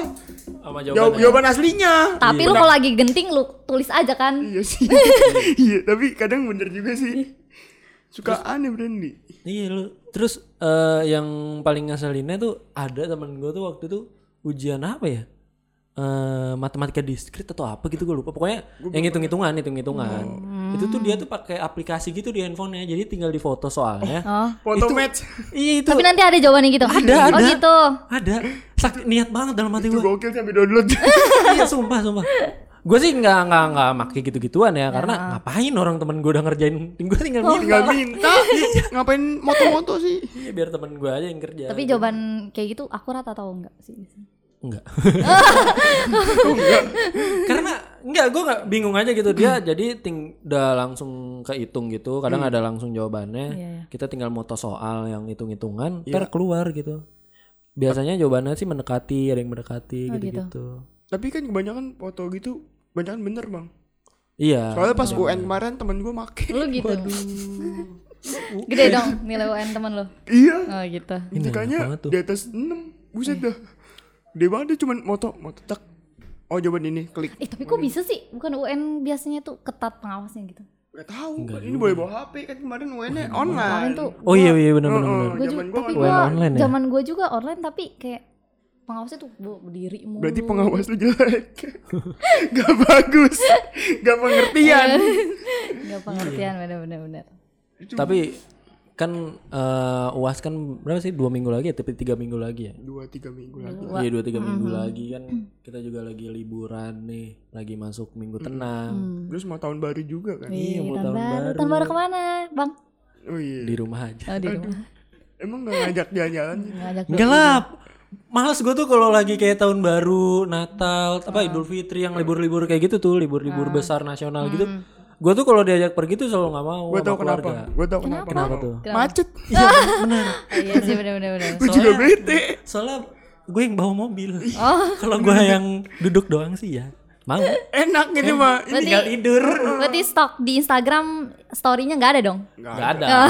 [SPEAKER 3] sama
[SPEAKER 1] jawaban,
[SPEAKER 3] jawabannya
[SPEAKER 1] jawaban aslinya.
[SPEAKER 2] Tapi lu kalau lagi genting lu tulis aja kan.
[SPEAKER 1] Iya sih. Iya, tapi kadang bener juga sih. Suka aneh Brandly.
[SPEAKER 3] Iya lu. Terus eh, yang paling ngeselinnya tuh ada temen gue tuh waktu itu ujian apa ya? Eh matematika diskrit atau apa gitu gue lupa. Pokoknya yang hitung-hitungan, hitung-hitungan.
[SPEAKER 2] Hmm.
[SPEAKER 3] Itu tuh dia tuh pakai aplikasi gitu di handphonenya. Jadi tinggal difoto soalnya.
[SPEAKER 2] Oh.
[SPEAKER 1] Foto
[SPEAKER 3] Itu-
[SPEAKER 1] match.
[SPEAKER 3] Iya itu
[SPEAKER 2] Tapi nanti ada jawabannya gitu.
[SPEAKER 3] Ada,
[SPEAKER 2] Oh
[SPEAKER 3] ada.
[SPEAKER 2] gitu.
[SPEAKER 3] ada. Sakit niat banget dalam hati
[SPEAKER 1] Itu
[SPEAKER 3] gue.
[SPEAKER 1] gokil sampai download.
[SPEAKER 3] iya sumpah sumpah. Gue sih nggak nggak nggak make gitu-gituan ya, karena ngapain orang temen gue udah ngerjain
[SPEAKER 2] Oh.
[SPEAKER 3] gue tinggal milih.
[SPEAKER 1] Tinggal minta. Ngapain moto-moto sih?
[SPEAKER 3] Iya, biar temen gue aja yang kerja.
[SPEAKER 2] Tapi jawaban kayak gitu akurat atau enggak sih?
[SPEAKER 3] Enggak. Oh, Karena enggak gue enggak bingung aja gitu dia jadi ting udah langsung kehitung gitu. Kadang ada langsung jawabannya.
[SPEAKER 2] Iya, iya.
[SPEAKER 3] Kita tinggal moto soal yang hitung-hitungan ntar keluar gitu. Biasanya jawabannya sih mendekati, ada yang mendekati
[SPEAKER 2] Oh,
[SPEAKER 3] gitu-gitu.
[SPEAKER 1] Tapi kan kebanyakan foto gitu kebanyakan bener bang.
[SPEAKER 3] Iya.
[SPEAKER 1] Soalnya pas UN kemarin temen gue make.
[SPEAKER 2] Lu gitu. Gede dong nilai UN teman lu.
[SPEAKER 1] Iya.
[SPEAKER 2] Oh gitu.
[SPEAKER 1] Intikannya
[SPEAKER 3] banget tuh.
[SPEAKER 1] di atas 6 Buset dah. Dia banget dia cuman moto moto tak. Oh jawaban ini klik.
[SPEAKER 2] Eh tapi kok bisa sih? Bukan UN biasanya tuh ketat pengawasnya gitu.
[SPEAKER 1] Gak tahu. Ini boleh bawa HP kan kemarin UN-nya
[SPEAKER 2] Kemarin
[SPEAKER 1] online.
[SPEAKER 2] tuh
[SPEAKER 3] Oh iya iya benar benar. benar.
[SPEAKER 1] Heeh,
[SPEAKER 2] gue juga,
[SPEAKER 1] zaman Kan gua
[SPEAKER 2] tapi
[SPEAKER 1] kan
[SPEAKER 2] gue
[SPEAKER 3] online. Online ya?
[SPEAKER 2] zaman gue juga online tapi kayak pengawasnya tuh bu, berdiri mulu.
[SPEAKER 1] Berarti pengawas lu jelek. Gak bagus. Gak pengertian.
[SPEAKER 2] Gak pengertian bener-bener. bener.
[SPEAKER 3] Tapi kan eh, uas kan berapa sih dua minggu lagi ya tapi tiga minggu lagi ya
[SPEAKER 1] dua tiga minggu lagi
[SPEAKER 3] iya dua tiga minggu
[SPEAKER 2] Mm-hmm.
[SPEAKER 3] lagi kan kita juga lagi liburan nih lagi masuk minggu
[SPEAKER 2] Mm-hmm. Mm.
[SPEAKER 3] tenang
[SPEAKER 1] terus mau tahun baru juga kan
[SPEAKER 2] Iya, tahun baru. Tahun baru kemana, Bang?
[SPEAKER 1] oh iya
[SPEAKER 3] di rumah aja
[SPEAKER 2] Oh, di rumah.
[SPEAKER 1] emang nggak ngajak jalan-jalan
[SPEAKER 2] Ngajak
[SPEAKER 3] enggak lah males gue tuh kalau lagi kayak tahun baru Natal apa Idul Fitri yang libur-libur kayak gitu tuh libur-libur besar nasional gitu gue tuh kalau diajak pergi tuh selalu nggak mau
[SPEAKER 1] gue
[SPEAKER 3] sama
[SPEAKER 1] tau kenapa
[SPEAKER 3] keluarga.
[SPEAKER 1] gue tau kenapa
[SPEAKER 3] kenapa tuh
[SPEAKER 1] macet
[SPEAKER 2] Oh, iya sih benar-benar. benar.
[SPEAKER 1] gue juga bete
[SPEAKER 3] soalnya gue yang bawa mobil kalau gue yang duduk doang sih ya mau
[SPEAKER 1] enak gitu mah ini
[SPEAKER 3] tinggal tidur
[SPEAKER 2] Berarti stok di Instagram story-nya nggak ada dong?
[SPEAKER 3] nggak ada
[SPEAKER 2] Kan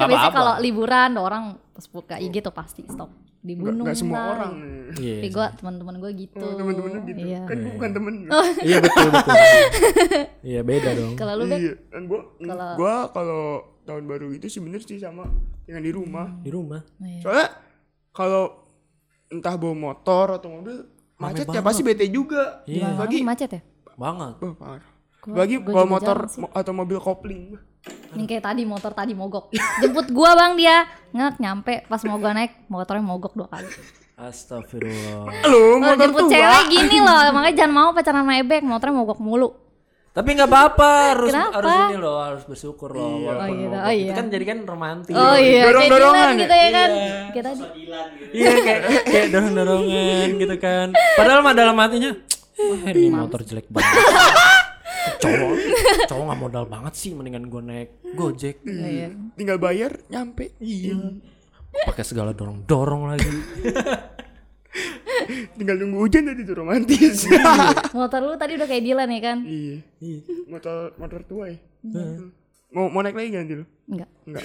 [SPEAKER 3] nggak
[SPEAKER 2] biasanya
[SPEAKER 3] apa-apa
[SPEAKER 2] kalau liburan orang pas buka IG tuh pasti stok di gunung.
[SPEAKER 1] nggak semua
[SPEAKER 2] lah.
[SPEAKER 1] orang
[SPEAKER 3] Iya,
[SPEAKER 2] Tapi gue teman-teman gue gitu.
[SPEAKER 1] temen-temen lu gitu
[SPEAKER 2] Iya.
[SPEAKER 1] kan gue bukan temen
[SPEAKER 3] iya betul betul iya beda dong
[SPEAKER 2] Kalau lu Beb,
[SPEAKER 1] iya kan gue gue kalau tahun baru itu sih bener sih sama dengan di rumah
[SPEAKER 3] di rumah
[SPEAKER 2] Iya.
[SPEAKER 1] soalnya kalau entah bawa motor atau mobil macet ya pasti bete juga
[SPEAKER 2] orang
[SPEAKER 1] Hmm. bagi
[SPEAKER 2] macet ya?
[SPEAKER 3] banget
[SPEAKER 1] Wah, parah. bagi bawa motor mo- atau mobil
[SPEAKER 2] Oh,
[SPEAKER 1] kopling
[SPEAKER 2] Ini kayak tadi motor tadi mogok. Jemput gua bang dia ngek nyampe pas mau gua naik motornya mogok dua kali.
[SPEAKER 3] astagfirullah
[SPEAKER 1] lo
[SPEAKER 2] Kalau
[SPEAKER 1] motor
[SPEAKER 2] jemput
[SPEAKER 1] tua Iya.
[SPEAKER 2] cewek gini loh, makanya jangan mau pacaran sama ebek, motornya mogok mulu.
[SPEAKER 3] tapi nggak apa-apa harus
[SPEAKER 2] Kenapa?
[SPEAKER 3] harus ini loh harus bersyukur loh walaupun
[SPEAKER 2] Oh, gitu.
[SPEAKER 3] mogok.
[SPEAKER 2] Oh,
[SPEAKER 3] itu
[SPEAKER 2] iya.
[SPEAKER 3] kan jadi kan romantis
[SPEAKER 2] Oh iya, kayak
[SPEAKER 1] dorong-dorongan
[SPEAKER 2] Dylan
[SPEAKER 1] ya?
[SPEAKER 2] gitu ya kan. Kayak tadi.
[SPEAKER 3] Iya kayak kayak dorong dorongan gitu kan. Padahal mah dalam hatinya "Wah, ini motor jelek banget. cowok cowok nggak modal banget sih mendingan gue naik gojek
[SPEAKER 2] Iya.
[SPEAKER 1] tinggal bayar nyampe iya
[SPEAKER 3] pakai segala dorong dorong lagi
[SPEAKER 1] tinggal nunggu hujan tadi tuh romantis
[SPEAKER 2] Motor lu tadi udah kayak Dylan ya kan?
[SPEAKER 1] iya motor motor tua ya mau mau naik lagi ganti lu
[SPEAKER 2] Enggak.
[SPEAKER 1] enggak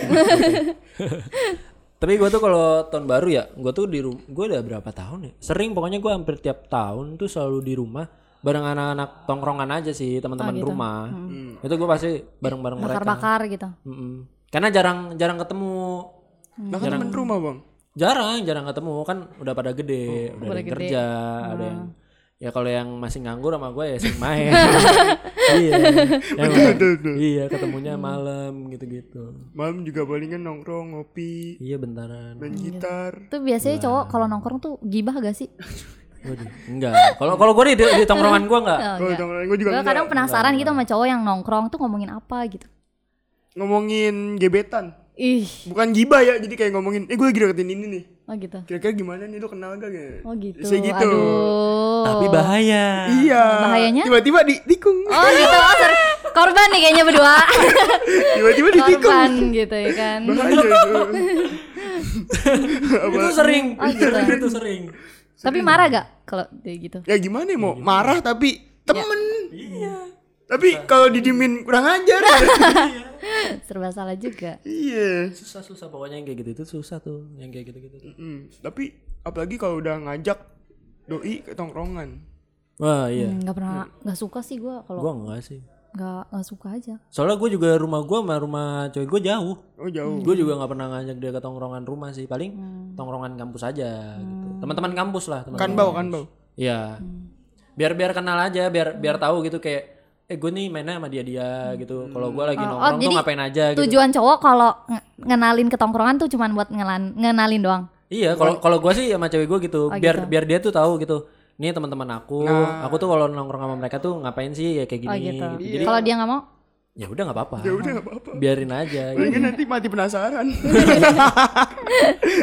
[SPEAKER 3] tapi gue tuh kalau tahun baru ya gue tuh di rumah gue udah berapa tahun ya sering pokoknya gue hampir tiap tahun tuh selalu di rumah bareng anak-anak tongkrongan aja sih
[SPEAKER 2] Oh,
[SPEAKER 3] teman-teman
[SPEAKER 2] gitu.
[SPEAKER 3] rumah
[SPEAKER 2] Hmm.
[SPEAKER 3] itu gue pasti bareng-bareng mereka
[SPEAKER 2] Bakar-bakar gitu.
[SPEAKER 3] Mm-mm. karena jarang jarang ketemu
[SPEAKER 1] nah kan temen rumah bang
[SPEAKER 3] jarang jarang ketemu kan udah pada gede udah ada yang kerja ada yang ya kalau yang masih nganggur sama gue ya sering main iya Yang
[SPEAKER 1] betul, betul.
[SPEAKER 3] iya ketemunya malam gitu-gitu
[SPEAKER 1] malam juga palingan nongkrong ngopi
[SPEAKER 3] iya bentaran
[SPEAKER 1] main gitar
[SPEAKER 2] Tuh
[SPEAKER 1] Iya.
[SPEAKER 2] biasanya cowok kalau nongkrong tuh gibah gak sih?
[SPEAKER 3] Waduh, enggak kalau kalau gue di, di di tongkrongan gue enggak
[SPEAKER 1] kalau teman gue juga
[SPEAKER 2] Gue
[SPEAKER 1] enggak.
[SPEAKER 2] Oh, iya. kadang penasaran gitu sama cowok yang nongkrong tuh ngomongin apa gitu.
[SPEAKER 1] ngomongin gebetan
[SPEAKER 2] Ih,
[SPEAKER 1] bukan gibah ya jadi kayak ngomongin eh gue lagi deketin ini nih
[SPEAKER 2] oh gitu.
[SPEAKER 1] kira-kira gimana nih lu kenal gak kayak
[SPEAKER 2] Oh gitu.
[SPEAKER 1] Bisa gitu.
[SPEAKER 2] Aduh.
[SPEAKER 3] tapi bahaya
[SPEAKER 1] iya
[SPEAKER 2] bahayanya?
[SPEAKER 1] tiba-tiba di tikung
[SPEAKER 2] Oh gitu. Oh, ser- korban nih kayaknya berdua.
[SPEAKER 1] tiba-tiba di tikung
[SPEAKER 2] korban gitu ya kan.
[SPEAKER 1] bahaya itu
[SPEAKER 3] itu sering
[SPEAKER 2] gitu.
[SPEAKER 3] itu sering
[SPEAKER 2] Tapi marah gak kalau dia gitu?
[SPEAKER 1] ya gimana ya, mau marah tapi temen
[SPEAKER 2] Iya.
[SPEAKER 1] tapi kalau didimin kurang ajar
[SPEAKER 2] Serba salah juga.
[SPEAKER 1] iya
[SPEAKER 3] susah susah pokoknya yang kayak gitu itu susah tuh yang kayak gitu gitu
[SPEAKER 1] Mm, tapi apalagi kalau udah ngajak doi ke tongkrongan
[SPEAKER 3] wah iya
[SPEAKER 2] Enggak pernah enggak suka sih gua kalau
[SPEAKER 3] gue enggak sih
[SPEAKER 2] enggak enggak suka aja.
[SPEAKER 1] Iya,
[SPEAKER 3] soalnya gue juga rumah gue sama rumah cewek gue jauh
[SPEAKER 1] oh jauh
[SPEAKER 3] gue juga nggak pernah ngajak dia ke tongkrongan rumah sih paling
[SPEAKER 2] Hmm.
[SPEAKER 3] tongkrongan kampus aja gitu teman-teman kampus lah teman
[SPEAKER 1] kan bau kan bau
[SPEAKER 3] ya
[SPEAKER 2] Hmm.
[SPEAKER 3] biar biar kenal aja biar biar tahu gitu kayak eh gue nih mainnya sama dia dia gitu kalau gue lagi
[SPEAKER 2] Oh, oh,
[SPEAKER 3] nongkrong
[SPEAKER 2] jadi
[SPEAKER 3] tuh ngapain aja gitu
[SPEAKER 2] Tujuan cowok kalau nge- ngenalin ke tongkrongan tuh cuman buat ngelan, ngenalin doang.
[SPEAKER 3] iya kalau kalau gue sih sama cewek gue gitu
[SPEAKER 2] Oh,
[SPEAKER 3] biar biar dia tuh tahu gitu nih teman-teman aku
[SPEAKER 1] Nah.
[SPEAKER 3] aku tuh kalau nongkrong sama mereka tuh ngapain sih ya kayak gini
[SPEAKER 2] Oh gitu.
[SPEAKER 3] gitu. jadi
[SPEAKER 2] Kalau dia nggak mau,
[SPEAKER 3] ya udah nggak apa-apa
[SPEAKER 1] ya udah nggak apa-apa
[SPEAKER 3] biarin aja gitu.
[SPEAKER 1] Mungkin nanti mati penasaran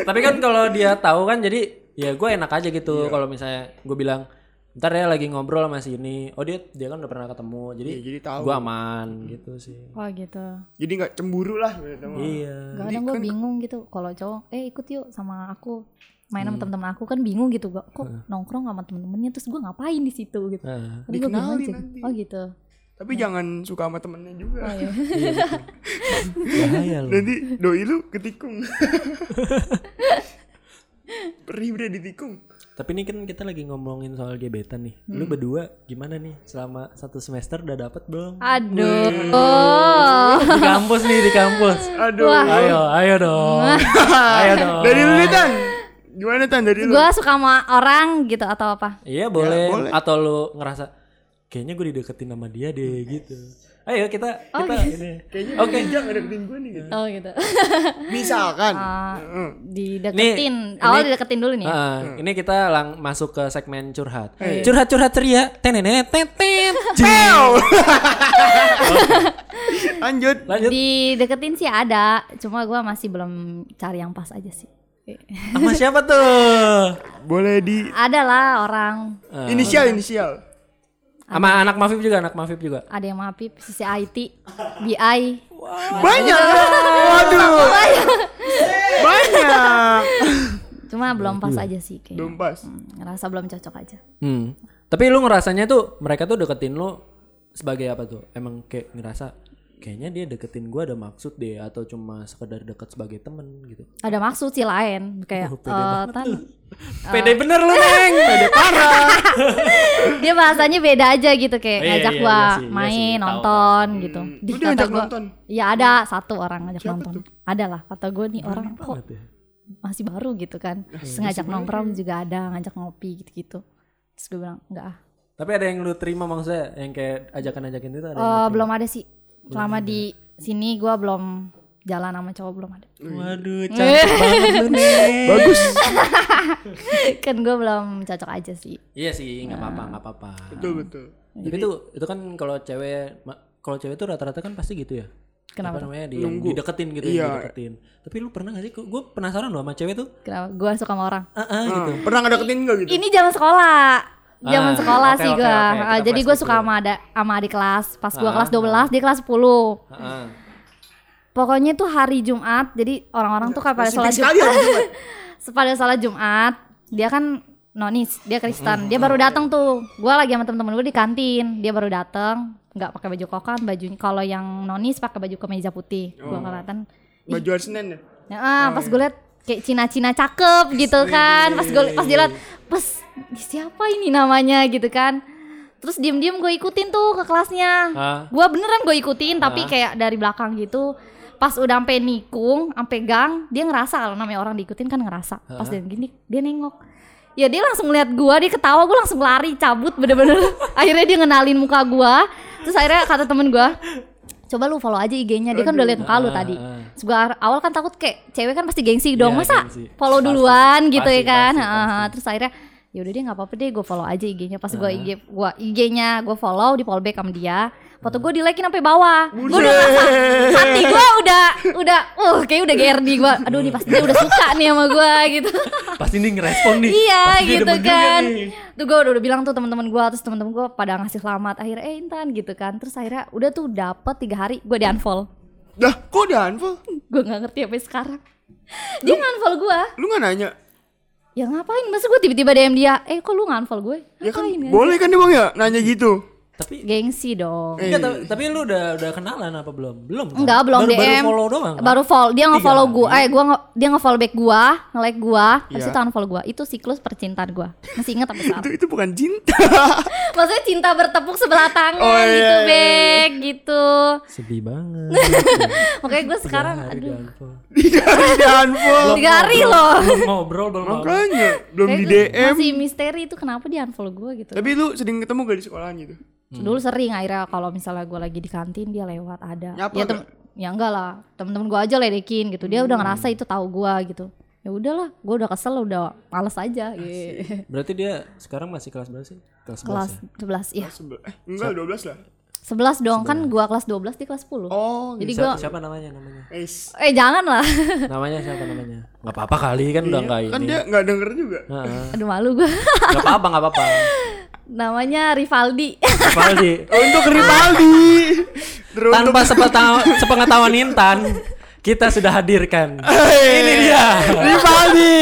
[SPEAKER 3] Tapi kan kalau dia tahu kan jadi ya gue enak aja
[SPEAKER 1] Iya.
[SPEAKER 3] gitu kalau misalnya gue bilang ntar ya lagi ngobrol sama si ini oh dia dia kan udah pernah ketemu jadi,
[SPEAKER 1] Iya, jadi tahu.
[SPEAKER 3] gue aman gitu sih
[SPEAKER 2] oh gitu.
[SPEAKER 1] jadi nggak cemburu lah gitu.
[SPEAKER 3] iya
[SPEAKER 2] Kadang gue bingung gitu kalau cowok, eh ikut yuk sama aku main
[SPEAKER 3] Hmm.
[SPEAKER 2] sama temen-temen aku kan bingung gitu gua kok nongkrong sama temen-temennya terus gue ngapain di situ gitu
[SPEAKER 3] Nah,
[SPEAKER 2] Tapi gua bingung
[SPEAKER 1] Dikenalin
[SPEAKER 2] sih.
[SPEAKER 1] nanti.
[SPEAKER 2] oh gitu
[SPEAKER 3] Hmm.
[SPEAKER 1] tapi jangan suka sama temennya juga
[SPEAKER 2] oh, iya.
[SPEAKER 3] gitu. bahaya lu
[SPEAKER 1] nanti doi lu ketikung perih udah ditikung
[SPEAKER 3] tapi ini kan kita lagi ngomongin soal gebetan nih
[SPEAKER 1] Hmm.
[SPEAKER 3] lu berdua gimana nih selama satu semester udah dapet belum
[SPEAKER 2] aduh
[SPEAKER 3] Iya,
[SPEAKER 2] oh.
[SPEAKER 3] di kampus nih di kampus
[SPEAKER 1] aduh
[SPEAKER 3] ayo ayo dong ayo dong
[SPEAKER 1] dari lu nih, Tan gimana tan dari lu
[SPEAKER 2] gue suka sama orang gitu atau apa
[SPEAKER 3] iya boleh.
[SPEAKER 1] boleh.
[SPEAKER 3] atau lu ngerasa kayaknya gue dideketin sama dia deh gitu ayo kita
[SPEAKER 2] Oh,
[SPEAKER 3] kita
[SPEAKER 2] gitu.
[SPEAKER 3] ini
[SPEAKER 1] iya. Kayaknya
[SPEAKER 3] oke
[SPEAKER 1] jangan deketin gue
[SPEAKER 3] Hmm.
[SPEAKER 1] nih. gitu.
[SPEAKER 2] Oh gitu.
[SPEAKER 1] Misalkan.
[SPEAKER 2] Ah,
[SPEAKER 1] Heeh.
[SPEAKER 2] dideketin.
[SPEAKER 3] Nih,
[SPEAKER 2] Awal
[SPEAKER 3] ini-
[SPEAKER 2] dideketin dulu nih. ya.
[SPEAKER 3] Ah, ini kita lang masuk ke segmen curhat
[SPEAKER 1] Iya.
[SPEAKER 3] curhat curhat ceria tenenet tetet
[SPEAKER 1] Pew! Lanjut.
[SPEAKER 3] lanjut
[SPEAKER 2] Dideketin sih ada, cuma gua masih belum cari yang pas aja sih.
[SPEAKER 3] sama siapa tuh
[SPEAKER 1] Boleh di
[SPEAKER 2] Ada lah orang
[SPEAKER 1] inisial inisial.
[SPEAKER 3] sama anak mafib juga anak mafib juga
[SPEAKER 2] ada yang mapip sisi IT, BI.
[SPEAKER 1] Banyak. Waduh. Banyak.
[SPEAKER 2] Cuma belum pas aja sih kayaknya.
[SPEAKER 1] Belum pas.
[SPEAKER 2] Hmm, Ngerasa belum cocok aja.
[SPEAKER 3] Hmm. Tapi lu ngerasanya tuh mereka tuh deketin lu sebagai apa tuh? Emang kayak ngerasa kayaknya dia deketin gua ada maksud deh atau cuma sekedar deket sebagai temen gitu.
[SPEAKER 2] Ada maksud sih lain kayak
[SPEAKER 3] pede
[SPEAKER 2] eh,
[SPEAKER 3] banget
[SPEAKER 2] Tan,
[SPEAKER 1] Oh.
[SPEAKER 3] Pede bener lu, Neng. Pede parah.
[SPEAKER 2] dia bahasanya beda aja gitu kayak
[SPEAKER 3] Iya,
[SPEAKER 2] ngajak
[SPEAKER 3] iya,
[SPEAKER 2] gua
[SPEAKER 3] iya sih, iya
[SPEAKER 2] main
[SPEAKER 3] sih, tahu,
[SPEAKER 2] nonton gitu.
[SPEAKER 1] Lu
[SPEAKER 2] Di
[SPEAKER 1] dia
[SPEAKER 2] kata
[SPEAKER 1] ngajak
[SPEAKER 2] gua,
[SPEAKER 1] nonton.
[SPEAKER 2] Iya ada satu orang ngajak nonton. Ada lah kata gue nih orang kok
[SPEAKER 3] Banget ya.
[SPEAKER 2] masih baru gitu kan. Terus ngajak nongkrong juga ada, ngajak ngopi gitu-gitu. Terus gue bilang enggak ah.
[SPEAKER 3] Tapi ada yang lu terima maksudnya yang kayak ajakan-ajakin itu ada.
[SPEAKER 2] Eh, belum ada sih. Selama di sini gua belum jalan sama cowok belum ada.
[SPEAKER 3] Waduh, cantik banget lu, Neng.
[SPEAKER 1] Bagus.
[SPEAKER 2] kan gue belum cocok aja sih.
[SPEAKER 3] Iya
[SPEAKER 2] Nah.
[SPEAKER 3] sih, nggak apa-apa, nggak apa-apa.
[SPEAKER 1] Betul betul.
[SPEAKER 3] Tapi tuh itu kan kalau cewek ma- kalau cewek tuh rata-rata kan pasti gitu ya.
[SPEAKER 2] Kenapa
[SPEAKER 3] Apa namanya? Di, yang
[SPEAKER 1] Nunggu.
[SPEAKER 3] dideketin gitu,
[SPEAKER 1] Iya.
[SPEAKER 3] yang dideketin. Tapi lu pernah gak sih? Gue penasaran loh sama cewek tuh.
[SPEAKER 2] Kenapa? Gue suka sama orang.
[SPEAKER 3] Ah, ah, gitu.
[SPEAKER 1] Ah, Pernah ngedeketin enggak gitu?
[SPEAKER 2] Ini zaman sekolah. Zaman
[SPEAKER 3] Ah,
[SPEAKER 2] sekolah
[SPEAKER 3] oke,
[SPEAKER 2] sih
[SPEAKER 3] oke,
[SPEAKER 2] gue.
[SPEAKER 3] oke. Kita
[SPEAKER 2] jadi gue
[SPEAKER 3] flashback
[SPEAKER 2] suka
[SPEAKER 3] dulu.
[SPEAKER 2] sama ada sama adik kelas. Pas gue
[SPEAKER 3] Ah,
[SPEAKER 2] kelas 12, dia kelas 10.
[SPEAKER 3] Heeh.
[SPEAKER 2] Pokoknya tuh hari Jumat, jadi orang-orang tuh kan pada
[SPEAKER 1] Spesifik
[SPEAKER 2] sholat
[SPEAKER 1] sekali
[SPEAKER 2] Jumat.
[SPEAKER 1] hari Jumat.
[SPEAKER 2] pada sholat Jumat, dia kan nonis, dia Kristen. Dia baru datang tuh. Gua lagi sama temen-temen gue di kantin. Dia baru datang, nggak pakai baju kokan, bajunya kalau yang nonis pakai baju kemeja putih. Gua
[SPEAKER 3] Oh.
[SPEAKER 2] kelihatan
[SPEAKER 1] Baju Arsenen ya?
[SPEAKER 2] Ya, ah, pas gue liat kayak Cina-Cina cakep gitu kan. Pas gue pas dilihat, pas siapa ini namanya gitu kan. Terus diem-diem gue ikutin tuh ke kelasnya.
[SPEAKER 3] Ah.
[SPEAKER 2] Gue beneran gue ikutin tapi kayak dari belakang gitu. Pas udah sampai nikung, sampai gang, dia ngerasa kalau namanya orang diikutin kan ngerasa. Pas dia gini, dia nengok. Ya dia langsung ngeliat gue, dia ketawa, gue langsung lari cabut bener-bener. akhirnya dia ngenalin muka gue. Terus akhirnya kata temen gue, coba lu follow aja IG-nya, dia kan udah liat muka lu
[SPEAKER 3] Ah,
[SPEAKER 2] tadi.
[SPEAKER 3] ah.
[SPEAKER 2] Terus gua awal kan takut kayak cewek kan pasti gengsi dong
[SPEAKER 3] Iya,
[SPEAKER 2] masa
[SPEAKER 3] gengsi.
[SPEAKER 2] follow
[SPEAKER 3] Pasti,
[SPEAKER 2] duluan gitu ya
[SPEAKER 3] pasti,
[SPEAKER 2] kan
[SPEAKER 3] pasti,
[SPEAKER 2] Heeh,
[SPEAKER 3] pasti. Ah.
[SPEAKER 2] terus akhirnya ya udah deh nggak apa-apa deh gue follow aja IG-nya pas gua IG gua IG-nya gue follow di follow back sama dia foto
[SPEAKER 3] Ah.
[SPEAKER 2] gue di likein sampai bawah gue udah ngerasa hati gue udah udah uh kayak udah GRD gue aduh nih pasti dia udah suka nih sama gue gitu
[SPEAKER 3] Pasti nih ngerespon nih.
[SPEAKER 2] iya
[SPEAKER 3] Pasti dia
[SPEAKER 2] gitu
[SPEAKER 3] demen juga
[SPEAKER 2] kan
[SPEAKER 3] nih.
[SPEAKER 2] tuh gue udah, udah bilang tuh teman-teman gue terus teman-teman gue pada ngasih selamat akhirnya eh Intan gitu kan terus akhirnya udah tuh dapet tiga hari gue di unfollow
[SPEAKER 1] Dah, kok udah unfollow?
[SPEAKER 2] gue nggak ngerti apa sekarang dia nge-unfollow gue
[SPEAKER 1] Lu nggak nanya?
[SPEAKER 2] ya ngapain masa gue tiba-tiba DM dia eh kok lu nge-unfollow gue
[SPEAKER 1] Ya kan
[SPEAKER 2] ngapain ya?
[SPEAKER 1] boleh kan nih Bang ya nanya gitu.
[SPEAKER 3] Tapi
[SPEAKER 2] gengsi dong
[SPEAKER 3] enggak, tapi, tapi lu udah udah kenalan apa belum? Belum.
[SPEAKER 1] Eh,
[SPEAKER 3] kan?
[SPEAKER 2] Enggak, belum
[SPEAKER 3] baru,
[SPEAKER 2] DM.
[SPEAKER 3] Baru follow doang. kan?
[SPEAKER 2] Baru follow, dia nge-follow
[SPEAKER 3] Tiga
[SPEAKER 2] gue. Eh, gua nge- dia nge-follow back gue, nge-like gue, habis
[SPEAKER 1] Iya.
[SPEAKER 2] itu unfollow gue. Itu siklus percintaan gue. Masih ingat sampai
[SPEAKER 1] Itu
[SPEAKER 2] sekarang.
[SPEAKER 1] itu bukan cinta.
[SPEAKER 2] Maksudnya cinta bertepuk sebelah tangan
[SPEAKER 1] Oh, iya,
[SPEAKER 2] gitu,
[SPEAKER 1] iya,
[SPEAKER 2] Bek, gitu.
[SPEAKER 3] Sedih banget.
[SPEAKER 2] Makanya gue sekarang
[SPEAKER 3] Hari
[SPEAKER 2] aduh,
[SPEAKER 3] downfall.
[SPEAKER 1] Tidak ada unfollow.
[SPEAKER 2] tiga hari loh.
[SPEAKER 3] Belum ngobrol belum apa.
[SPEAKER 1] Makanya belum
[SPEAKER 2] Kayak
[SPEAKER 1] di
[SPEAKER 2] gua
[SPEAKER 1] DM.
[SPEAKER 2] Masih misteri itu kenapa dia unfollow gue gitu.
[SPEAKER 1] Tapi lu sering ketemu gak di sekolahan gitu?
[SPEAKER 2] dulu sering akhirnya kalau misalnya gue lagi di kantin dia lewat ada
[SPEAKER 1] Nyapa
[SPEAKER 2] ya, tem- ya enggak lah temen-temen gue aja ledekin gitu dia
[SPEAKER 1] Hmm.
[SPEAKER 2] udah ngerasa itu tahu gue gitu ya udahlah gue udah kesel udah males aja gitu.
[SPEAKER 3] Berarti dia sekarang masih kelas berapa sih? Kelas
[SPEAKER 2] kelas
[SPEAKER 3] 11
[SPEAKER 2] 11 iya
[SPEAKER 3] ya?
[SPEAKER 1] Sebel. Eh, enggak 12 lah.
[SPEAKER 2] 11 dong kan gue kelas 12 dia kelas 10
[SPEAKER 1] Oh,
[SPEAKER 2] jadi
[SPEAKER 3] Siapa,
[SPEAKER 2] gue
[SPEAKER 3] siapa namanya namanya?
[SPEAKER 1] guys.
[SPEAKER 2] eh jangan lah
[SPEAKER 3] Namanya siapa namanya? Gak apa-apa kali kan udah enggak
[SPEAKER 1] Kan
[SPEAKER 3] ini.
[SPEAKER 1] dia enggak denger juga.
[SPEAKER 3] Heeh.
[SPEAKER 2] aduh malu gue
[SPEAKER 3] Gak apa-apa, gak apa-apa.
[SPEAKER 2] namanya Rivaldi
[SPEAKER 3] Valdi.
[SPEAKER 1] Untuk Rivaldi. Terus
[SPEAKER 3] Tanpa sepetau- sepengetahuan Intan, kita sudah hadirkan.
[SPEAKER 1] ini dia.
[SPEAKER 3] Rivaldi.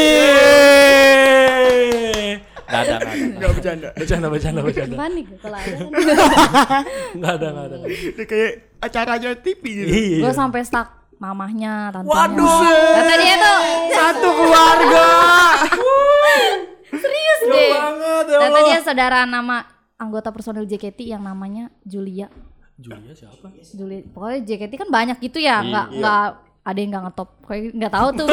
[SPEAKER 3] Gak ada, gak ada.
[SPEAKER 1] Enggak bercanda.
[SPEAKER 3] Bercanda, bercanda, bercanda.
[SPEAKER 2] panik gua kalau ada
[SPEAKER 1] Iya.
[SPEAKER 2] kan
[SPEAKER 3] Gak ada, gak ada.
[SPEAKER 1] Dia kayak acaranya TV gitu.
[SPEAKER 3] Iya.
[SPEAKER 2] gue sampai stuck mamahnya tantenya
[SPEAKER 1] Waduh.
[SPEAKER 2] kata dia tuh
[SPEAKER 1] Satu keluarga.
[SPEAKER 2] serius deh
[SPEAKER 3] banget ya
[SPEAKER 2] kata
[SPEAKER 3] Allah.
[SPEAKER 2] dia saudara nama anggota personil JKT yang namanya Julia
[SPEAKER 3] Julia siapa?
[SPEAKER 2] Juli pokoknya JKT kan banyak gitu ya nggak nggak ada yang nggak ngetop kayak nggak tahu tuh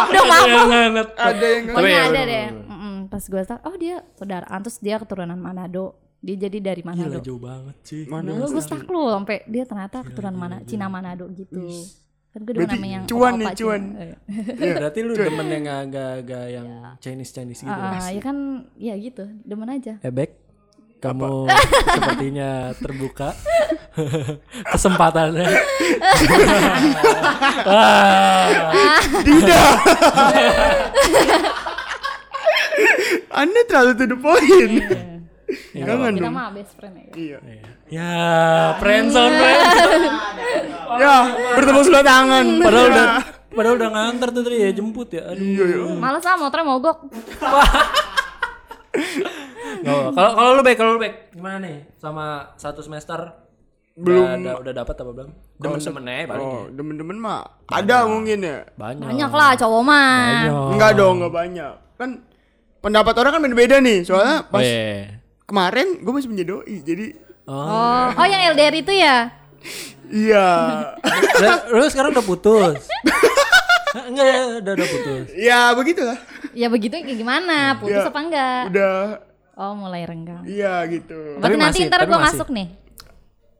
[SPEAKER 2] udah maaf
[SPEAKER 3] Yang ngenet.
[SPEAKER 1] Ada yang
[SPEAKER 2] pokoknya
[SPEAKER 3] Tapi ya,
[SPEAKER 2] ada
[SPEAKER 3] bener,
[SPEAKER 2] deh
[SPEAKER 3] bener,
[SPEAKER 2] Mm-mm. pas gue tahu oh dia saudaraan terus dia keturunan Manado Dia jadi dari
[SPEAKER 3] Gila
[SPEAKER 2] Manado.
[SPEAKER 3] jauh banget sih.
[SPEAKER 1] Mana?
[SPEAKER 2] Lu gue stuck lu sampai dia ternyata keturunan mana Cina Manado gitu. Kan gue demen
[SPEAKER 1] Berarti
[SPEAKER 2] nama yang
[SPEAKER 1] cuan
[SPEAKER 2] opa-opa
[SPEAKER 1] nih, cuan.
[SPEAKER 2] Cina. Eh.
[SPEAKER 3] Iya, Berarti lu demen yang agak-agak yang
[SPEAKER 1] Iya.
[SPEAKER 3] Chinese Chinese gitu. ya?
[SPEAKER 2] Ah, ya kan ya gitu, demen aja.
[SPEAKER 3] Ebek, kamu sepertinya terbuka kesempatannya. Ah. Wah,
[SPEAKER 1] Tidak. Anda terlalu to the point. Jangan
[SPEAKER 2] Kita
[SPEAKER 1] dong.
[SPEAKER 2] mah best friend
[SPEAKER 1] Iya.
[SPEAKER 2] ya.
[SPEAKER 3] ya, friendzone, friendzone.
[SPEAKER 1] Ya, Iya. bertemu sebelah tangan.
[SPEAKER 3] Padahal udah, padahal udah nganter tuh tadi ya jemput ya. Aduh.
[SPEAKER 1] Iya, iya.
[SPEAKER 2] Males lah motornya mogok.
[SPEAKER 3] Nggak apa-apa. Kalau kalau lu baik, kalau lu baik gimana nih? Sama satu semester
[SPEAKER 1] Belum.
[SPEAKER 3] udah, udah, udah dapat apa belum? Demen-demen aja paling.
[SPEAKER 1] Oh, demen-demen mah ada mungkin ya.
[SPEAKER 3] Banyak.
[SPEAKER 2] Banyak lah cowok mah.
[SPEAKER 1] Enggak dong, enggak banyak. Kan pendapat orang kan beda-beda nih. Soalnya
[SPEAKER 3] Oh,
[SPEAKER 1] pas
[SPEAKER 3] iya, iya.
[SPEAKER 1] kemarin gue masih menjadi doi. Jadi
[SPEAKER 3] Oh.
[SPEAKER 2] Oh, oh yang LDR itu ya?
[SPEAKER 1] iya.
[SPEAKER 3] Lah, Lu sekarang udah putus. Hah, Enggak, ya, udah udah putus.
[SPEAKER 1] ya begitulah.
[SPEAKER 2] Ya begitu kayak gimana? Putus
[SPEAKER 1] Ya.
[SPEAKER 2] apa enggak?
[SPEAKER 1] Udah
[SPEAKER 2] Oh, mulai renggang.
[SPEAKER 1] iya gitu.
[SPEAKER 2] Tapi,
[SPEAKER 3] Tapi
[SPEAKER 2] nanti
[SPEAKER 3] masih,
[SPEAKER 2] ntar
[SPEAKER 3] tapi
[SPEAKER 2] gue
[SPEAKER 3] masih.
[SPEAKER 2] masuk nih.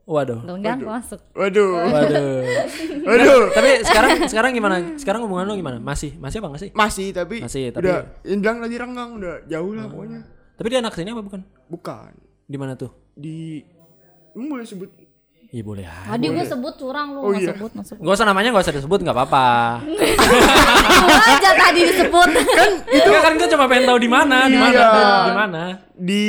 [SPEAKER 3] Waduh.
[SPEAKER 2] Renggang gue masuk.
[SPEAKER 1] Waduh.
[SPEAKER 3] Waduh.
[SPEAKER 1] Waduh.
[SPEAKER 3] Tapi sekarang sekarang gimana? Sekarang hubungan lu gimana? Masih masih apa enggak sih?
[SPEAKER 1] Masih tapi,
[SPEAKER 3] Masih, tapi-
[SPEAKER 1] udah yang bilang tadi renggang udah jauh lah pokoknya.
[SPEAKER 3] Tapi dia anak sini apa bukan?
[SPEAKER 1] Bukan
[SPEAKER 3] Di mana tuh?
[SPEAKER 1] di Emang boleh sebut
[SPEAKER 3] Iya boleh aja.
[SPEAKER 2] Tadi gue sebut curang lu,
[SPEAKER 1] Oh,
[SPEAKER 2] nggak
[SPEAKER 1] iya.
[SPEAKER 2] sebut masuk.
[SPEAKER 3] Gak usah namanya gak usah disebut nggak apa-apa.
[SPEAKER 2] Lu aja tadi disebut.
[SPEAKER 3] Itu kan gue cuma pengen tahu di mana, di mana,
[SPEAKER 1] Iya.
[SPEAKER 3] di mana.
[SPEAKER 1] di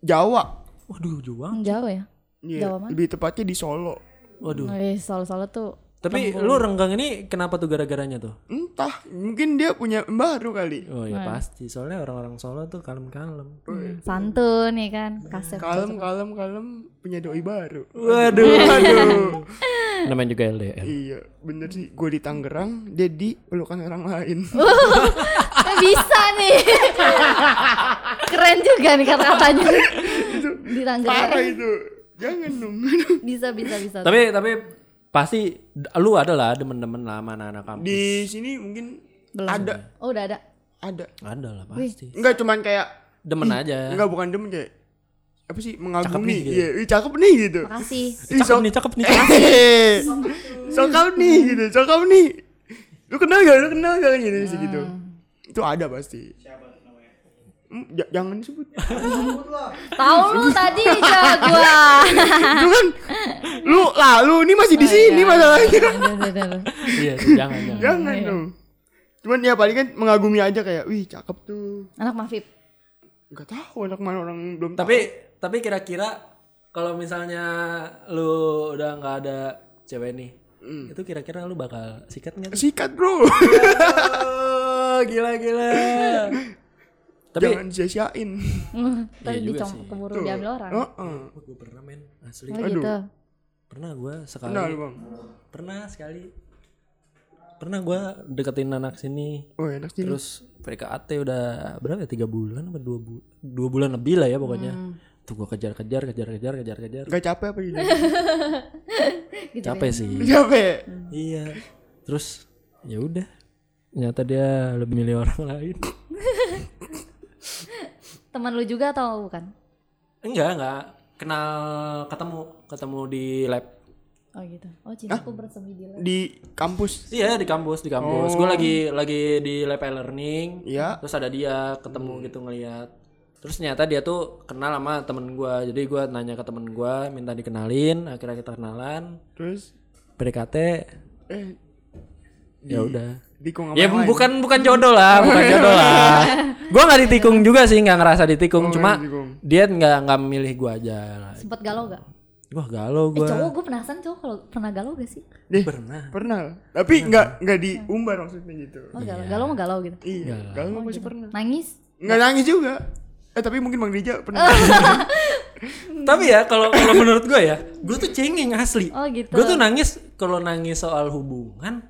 [SPEAKER 1] Jawa.
[SPEAKER 3] Waduh, juang.
[SPEAKER 2] Jauh ya?
[SPEAKER 1] Iya,
[SPEAKER 2] Jawa mana?
[SPEAKER 1] lebih tepatnya di Solo.
[SPEAKER 3] Waduh.
[SPEAKER 2] Eh, solo-solo tuh.
[SPEAKER 3] Tapi lu renggang ini kenapa tuh gara-garanya tuh?
[SPEAKER 1] Entah, mungkin dia punya baru kali.
[SPEAKER 3] Oh ya pasti, soalnya orang-orang Solo tuh kalem-kalem.
[SPEAKER 2] hmm, Santun ya kan, kasep.
[SPEAKER 1] Kalem, kalem, kalem punya doi baru.
[SPEAKER 3] Waduh.
[SPEAKER 1] Aduh.
[SPEAKER 3] Namanya juga LDR.
[SPEAKER 1] iya, bener sih. Gue di Tangerang, dia di pelukan orang lain.
[SPEAKER 2] Eh, bisa nih. Keren juga nih kata-katanya. Di
[SPEAKER 1] Parah
[SPEAKER 2] Tangerang.
[SPEAKER 1] itu. Jangan dong.
[SPEAKER 2] Bisa, bisa, bisa.
[SPEAKER 3] Tapi tapi pasti d- lu ada lah demen-demen lama anak-anak kampus.
[SPEAKER 1] di sini mungkin ada
[SPEAKER 2] Oh, udah ada.
[SPEAKER 1] ada.
[SPEAKER 3] Ada lah pasti.
[SPEAKER 1] Enggak cuman kayak
[SPEAKER 3] Demen aja.
[SPEAKER 1] enggak bukan demen kayak apa sih mengagumi.
[SPEAKER 3] nih, gitu.
[SPEAKER 1] Iya, ih, cakep nih gitu.
[SPEAKER 2] Makasih.
[SPEAKER 1] Ih,
[SPEAKER 3] Cakep
[SPEAKER 1] so-
[SPEAKER 3] nih, cakep nih.
[SPEAKER 1] Hehehe. Sokap nih gitu, sokap nih. Lu kenal gak? Lu kenal gak gitu sih gitu. Itu ada pasti. Hmm, ja- jangan disebut.
[SPEAKER 2] Tahu lu tadi jagoa.
[SPEAKER 3] Ah.
[SPEAKER 1] Itu kan lu lah lu ini masih
[SPEAKER 3] Oh,
[SPEAKER 1] di sini masalahnya.
[SPEAKER 3] Iya, jangan jangan.
[SPEAKER 1] Jangan dong. Cuman ya paling kan mengagumi aja kayak, "Wih, cakep tuh."
[SPEAKER 2] Anak Mafib.
[SPEAKER 1] Gak tahu anak mana orang belum
[SPEAKER 3] Tapi tapi kira-kira kalau misalnya lu udah nggak ada cewek nih, itu kira-kira lu bakal sikat nggak?
[SPEAKER 1] tahu.
[SPEAKER 3] tuh?
[SPEAKER 1] sikat, Bro.
[SPEAKER 3] Oh, gila gila. tapi
[SPEAKER 1] jangan sia-siain.
[SPEAKER 2] Tadi
[SPEAKER 3] Iya juga
[SPEAKER 2] dicom
[SPEAKER 3] sih.
[SPEAKER 2] Hmm, keburu diambil orang.
[SPEAKER 1] Heeh.
[SPEAKER 3] gue pernah men asli
[SPEAKER 2] Oh, gitu.
[SPEAKER 3] pernah gue sekali
[SPEAKER 1] Kenal, Bang.
[SPEAKER 3] pernah sekali pernah gue deketin anak sini
[SPEAKER 1] Oh, enak sih.
[SPEAKER 3] terus PDKT udah berapa ya tiga bulan apa dua bulan dua bulan lebih lah ya pokoknya tuh gue kejar-kejar kejar-kejar kejar-kejar
[SPEAKER 1] Gak capek apa gitu?
[SPEAKER 3] capek sih
[SPEAKER 1] capek.
[SPEAKER 3] iya terus ya udah ternyata dia lebih milih orang lain
[SPEAKER 2] Teman lu juga atau bukan?
[SPEAKER 3] enggak enggak kenal ketemu ketemu di lab
[SPEAKER 2] Oh gitu. Oh cintaku bersemi di lab.
[SPEAKER 1] Di kampus.
[SPEAKER 3] iya di kampus di kampus gue lagi lagi di lab e-learning
[SPEAKER 1] Iya.
[SPEAKER 3] terus ada dia ketemu gitu ngeliat terus ternyata dia tuh kenal sama temen gue jadi gue nanya ke temen gue minta dikenalin akhirnya kita kenalan
[SPEAKER 1] Terus
[SPEAKER 3] PDKT
[SPEAKER 1] eh
[SPEAKER 3] ya udah
[SPEAKER 1] dikong sama
[SPEAKER 3] ya
[SPEAKER 1] yang lain.
[SPEAKER 3] bukan bukan jodoh lah bukan jodoh lah gue nggak ditikung juga sih nggak ngerasa ditikung cuma
[SPEAKER 1] ditikung.
[SPEAKER 3] dia nggak nggak milih gue aja lah
[SPEAKER 2] Sempet galau gak?
[SPEAKER 3] gue galau
[SPEAKER 2] Eh
[SPEAKER 3] gue
[SPEAKER 2] cowok gue penasaran cowok kalau pernah galau gak sih?
[SPEAKER 1] Deh,
[SPEAKER 3] pernah
[SPEAKER 1] pernah lah. tapi nggak nggak diumbar maksudnya gitu
[SPEAKER 2] Oh galau, galau mah galau gitu.
[SPEAKER 1] iya galau masih pernah
[SPEAKER 2] Nangis?
[SPEAKER 1] nggak nangis juga eh tapi mungkin bang Rija pernah
[SPEAKER 3] Ah. tapi ya kalau kalau menurut gue ya gue tuh cengeng asli
[SPEAKER 2] Oh, gitu.
[SPEAKER 3] gue tuh nangis kalau nangis soal hubungan